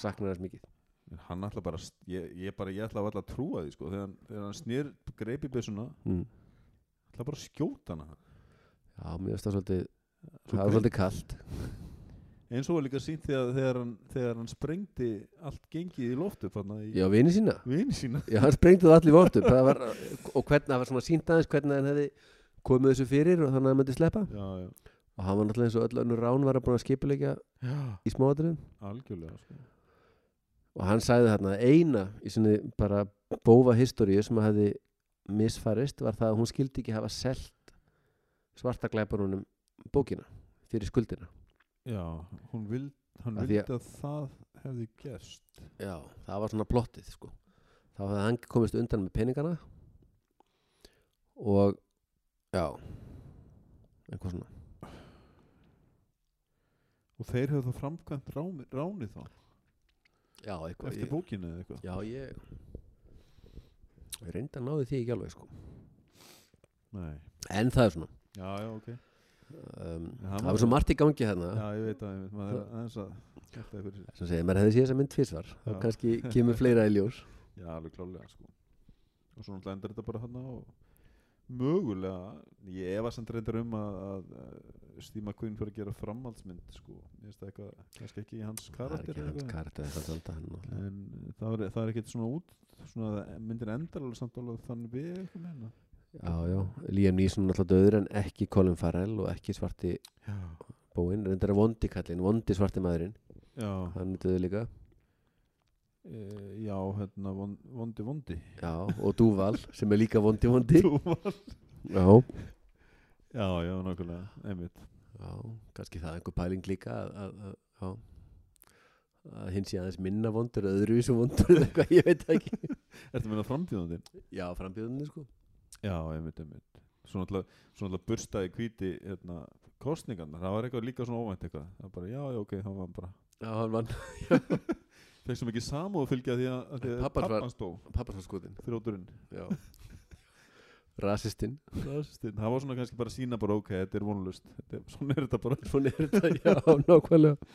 S2: saknar þess mikið
S1: En hann ætla bara, ég, ég bara, ég ætla að alltaf að trúa því, sko, þegar hann, þegar hann snýr greipi byssuna,
S2: mm.
S1: ætla bara að skjóta hana.
S2: já, mér finnst það svolítið
S1: Svo
S2: það var
S1: greip-
S2: svolítið kallt
S1: Eins og var líka sínt þegar, þegar, hann, þegar hann sprengdi allt gengið í loftu, þarna í
S2: já, vini sína
S1: vini sína.
S2: Já, hann sprengdi það allir vortum var, og hvernig, það var svona sínt aðeins hvernig hann hefði komið þessu fyrir og þannig að hann myndi sleppa
S1: Já, já,
S2: og hann var náttúrulega eins og öll önnur rán var að búin að skipulegja
S1: já,
S2: í smáatriðum
S1: algjörlega sko.
S2: og hann sagði þarna að eina í sinni bara bófa historíu sem að hefði misfarist var það að hún skildi ekki hafa selt svarta glæparunum bókina fyrir skuldina
S1: já, hún vild, hann
S2: Af
S1: vildi
S2: því að-
S1: að, það hefði gerst
S2: Já, það var svona plottið sko. þá hefði hann komist undan með peningana og já eitthvað svona
S1: og þeir hefðu þá framkvæmt ráni, ráni þá
S2: Já, eitthvað
S1: eftir
S2: ég,
S1: bókinu eða eitthvað
S2: Já, ég ég reyndi að náði því ekki alveg sko.
S1: Nei.
S2: en það er svona
S1: já, já, ok
S2: um,
S1: Já,
S2: það
S1: maður-
S2: var svo margt í gangi hérna
S1: já, ég veit að maður er aðeins að þetta er fyrir sér
S2: sem segir, maður hefði séð þessa mynd tvisvar þá
S1: Já.
S2: kannski kemur fleira í ljós
S1: Já, alveg klálega sko. Og svo náttúrulega endur þetta bara hann og mögulega, ég efast endur reyndar um að, að eh, Steve McQueen fyrir að gera framhaldsmynd sko. Ég veist það eitthvað, kannski ekki í hans
S2: það er
S1: karakter
S2: ekki
S1: eða
S2: hans
S1: eitthvað.
S2: karakter það er samt að hann náttúrulega-
S1: En eh, það er, það er ekkert svona út, svona að myndin endar alveg samt alveg þann við eitthvað meina.
S2: Já, já, Liam Neeson alltaf döður en ekki Colin Farrell og ekki svarti
S1: Já.
S2: bóin reyndar er vondi kallinn, vondi svarti maðurinn
S1: Já,
S2: hann er döður líka
S1: e, já, hérna, von, vondi vondi.
S2: já, og Dúval sem er líka vondi vondi
S1: Þú var.
S2: já.
S1: Já, já, nákvæmlega, einmitt.
S2: já, kannski það er einhver pæling líka að, að, að, já, að hinn sé aðeins minna vondur öðruvísu vondur eða eitthvað, ég veit það ekki
S1: Ertu að meina framtíðandi?
S2: já, frambjöðunni sko
S1: Já, einmitt, einmitt Svo náttúrulega, svo náttúrulega burstaði hvíti hérna, kostningarnar, það var eitthvað líka svona óvænt eitthvað, það var bara, já, já, ok, það var bara
S2: já, hann vann
S1: fekk svo mikið samúð fylgja því að, að, því að
S2: Pabbans var-
S1: pabbans dó,
S2: papparsvarskotin
S1: þrjóturinn
S2: já rasistinn
S1: Rasistinn. það var svona kannski bara að sína bara, ok, þetta er vonlust þetta er, svona er þetta bara
S2: svona er þetta, já, nákvæmlega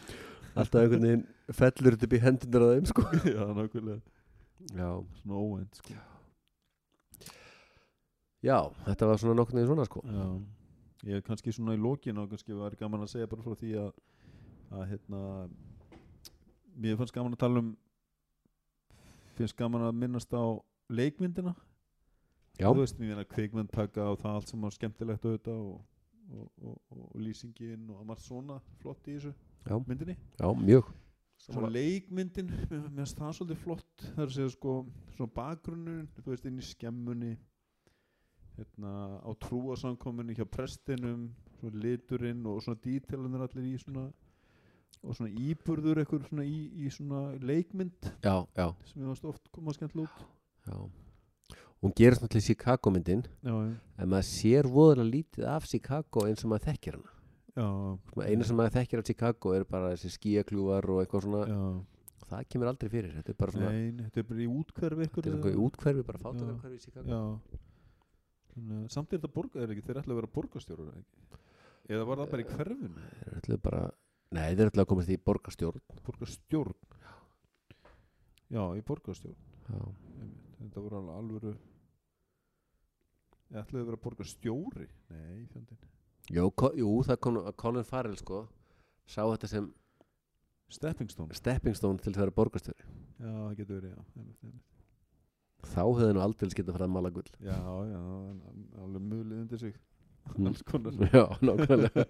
S2: alltaf einhvern veginn fellur þetta upp í hendunar að þeim sko
S1: já, nákvæmlega,
S2: já,
S1: svona óvænt sko.
S2: já, þetta var svona nokkurn veginn svona sko
S1: já, ég er kannski svona í lokin og kannski var gaman að segja bara frá því að að hérna mér fannst gaman að tala um finnst gaman að minnast á leikmyndina
S2: já,
S1: þú veist, mér meina kvikmyndtaka og það allt sem var skemmtilegt auðvitað og, og, og, og, og lýsingin og margt svona flott í þessu
S2: Já.
S1: myndinni
S2: já, mjög
S1: Svo leikmyndin, mér mér finnst það svolítið flott það er að segja sko, svona bakgrunnurinn þú veist, inn í skemmunni hérna, á trúasamkominni hjá prestinum, svona liturinn og svona dítelunir allir í svona og svona íburður ekkur svona í, í svona leikmynd
S2: já, já,
S1: sem ég varst oft koma skemmtilega út
S2: já hún gerir svona til Chicago myndin
S1: já, já,
S2: en maður sér voðalega lítið af Chicago eins og maður þekkir hana
S1: já,
S2: Svona eina sem maður þekkir af Chicago er bara þessi skíakljúvar og eitthvað svona
S1: já.
S2: það kemur aldrei fyrir, þetta er bara svona
S1: Nei, nei, þetta er bara í útkverfi ykkur
S2: þetta er svona
S1: eða-
S2: útkverfi, bara fátakarkverfi í Chicago
S1: Já Þannig, að- Samt er þetta borga, er ekki, þeir ætla að vera borgarstjórar eða ekki? Eða var það bara í hverfinu?
S2: þeir eru ætlaðu bara, nei þeir eru ætlaðu að komast í borgarstjórn
S1: Borgarstjórn Já, í borgarstjórn
S2: já,
S1: einmitt. Þetta voru alveg alvöru Ég ætlaði að vera borgarstjóri Nei, fjöndin
S2: Jó, ko, jú, það kom að Colin Farrell sko sá þetta sem
S1: Stepping stone
S2: stepping stone til þeirra borgarstjóri
S1: Já, það getur verið, já einmitt, einmitt.
S2: þá hefði nú aldrei getað farað að mala gull
S1: Já, já, en alveg mulið undir sig
S2: Mm.
S1: Alls konar
S2: já, nákvæmlega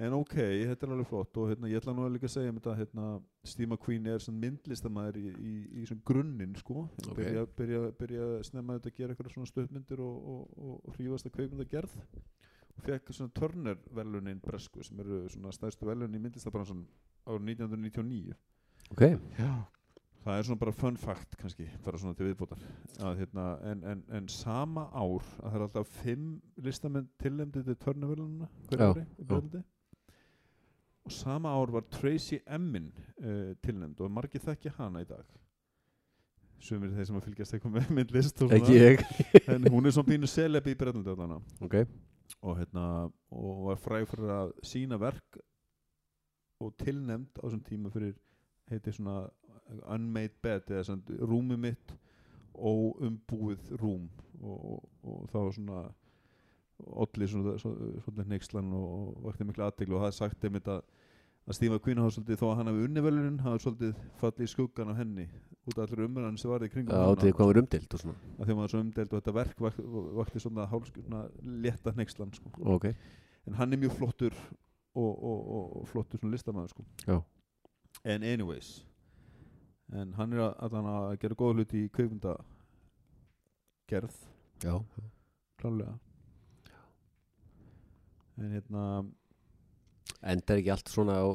S1: En ok, þetta er alveg flott og hérna, ég ætla nú að líka að segja um þetta hérna, Steve McQueen er svona myndlistamæður í, í, í svona grunninn sko
S2: Ok.
S1: byrja, byrja, byrja að snemma þetta að gera eitthvað svona stöðmyndir og, og, og, og hrífast að kveikmynda gerð og fekk svona Turner velunin bresku sem eru svona stærstu velunin í myndlistabransan árið 1999
S2: ok,
S1: Já Það er svona bara fun fact kannski, bara svona til viðbótar að, hérna, en, en, en sama ár að það er alltaf fimm listamenn tilnefndið til törnavölununa hverju
S2: Já,
S1: ári í Breitlandi og sama ár var Tracy Emin uh, tilnefnd og margir þekki hana í dag sumir þeir sem að fylgjast eitthvað með myndlist og
S2: ekki
S1: svona,
S2: ég
S1: en hún er svona pínu selebi í Breitlandi allan á
S2: ok,
S1: og hérna og var fræg fyrir að sína verk og tilnefnd á þessum tíma fyrir heiti svona unmade bed eða svona rúmi mitt og umbúið rúm og, og, og það var svona olli svona, svona, svona neykslan og, og vakti mikla aðteglu og það er sagt einmitt að að Steve McQueen hafa svolítið þó að hann hafi unni velunin hafa svolítið fallið í skuggan á henni út af allir umræðan sem var í kringum
S2: Já,
S1: hana,
S2: til hvað var umdilt og svona
S1: að því að maður svo umdelt og þetta verk vak- vakti svona hálskuna létta hneikslan sko.
S2: Ok
S1: en hann er mjög flottur og, og, og, og flottur svona listamaður sko.
S2: Já.
S1: en anyways en hann er að, allan að gera góða hluti í kveikmynda gerð
S2: Já
S1: klálega en hérna
S2: Endar ekki allt svona á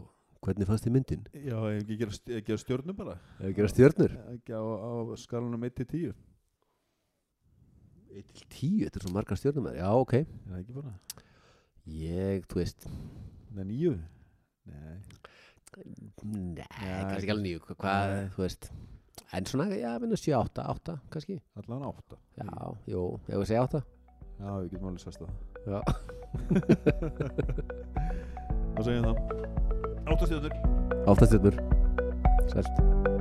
S2: Hvernig fannst þið myndin?
S1: já, ef ekki gera, st- gera stjörnum bara
S2: Ef ekki að stjörnur?
S1: ekki á, á skalunum 1 til 10
S2: 1 til 10, þetta er svo margar stjörnum Já, ok
S1: er það ekki bara
S2: Ég, þú veist
S1: Nei, nýju Nei,
S2: Nei,
S1: Já,
S2: kannski
S1: ekki-
S2: ekki alveg nýju hva- Hvað,
S1: Nei.
S2: þú veist En svona, já, minna 7, 8, 8 kannski
S1: allan átta
S2: Já, jú, ef við segja 8
S1: Já, við getum alveg sérst það
S2: Já
S1: Hvað segjum við það? Átta stjörnur
S2: Áttastjörnur Sælt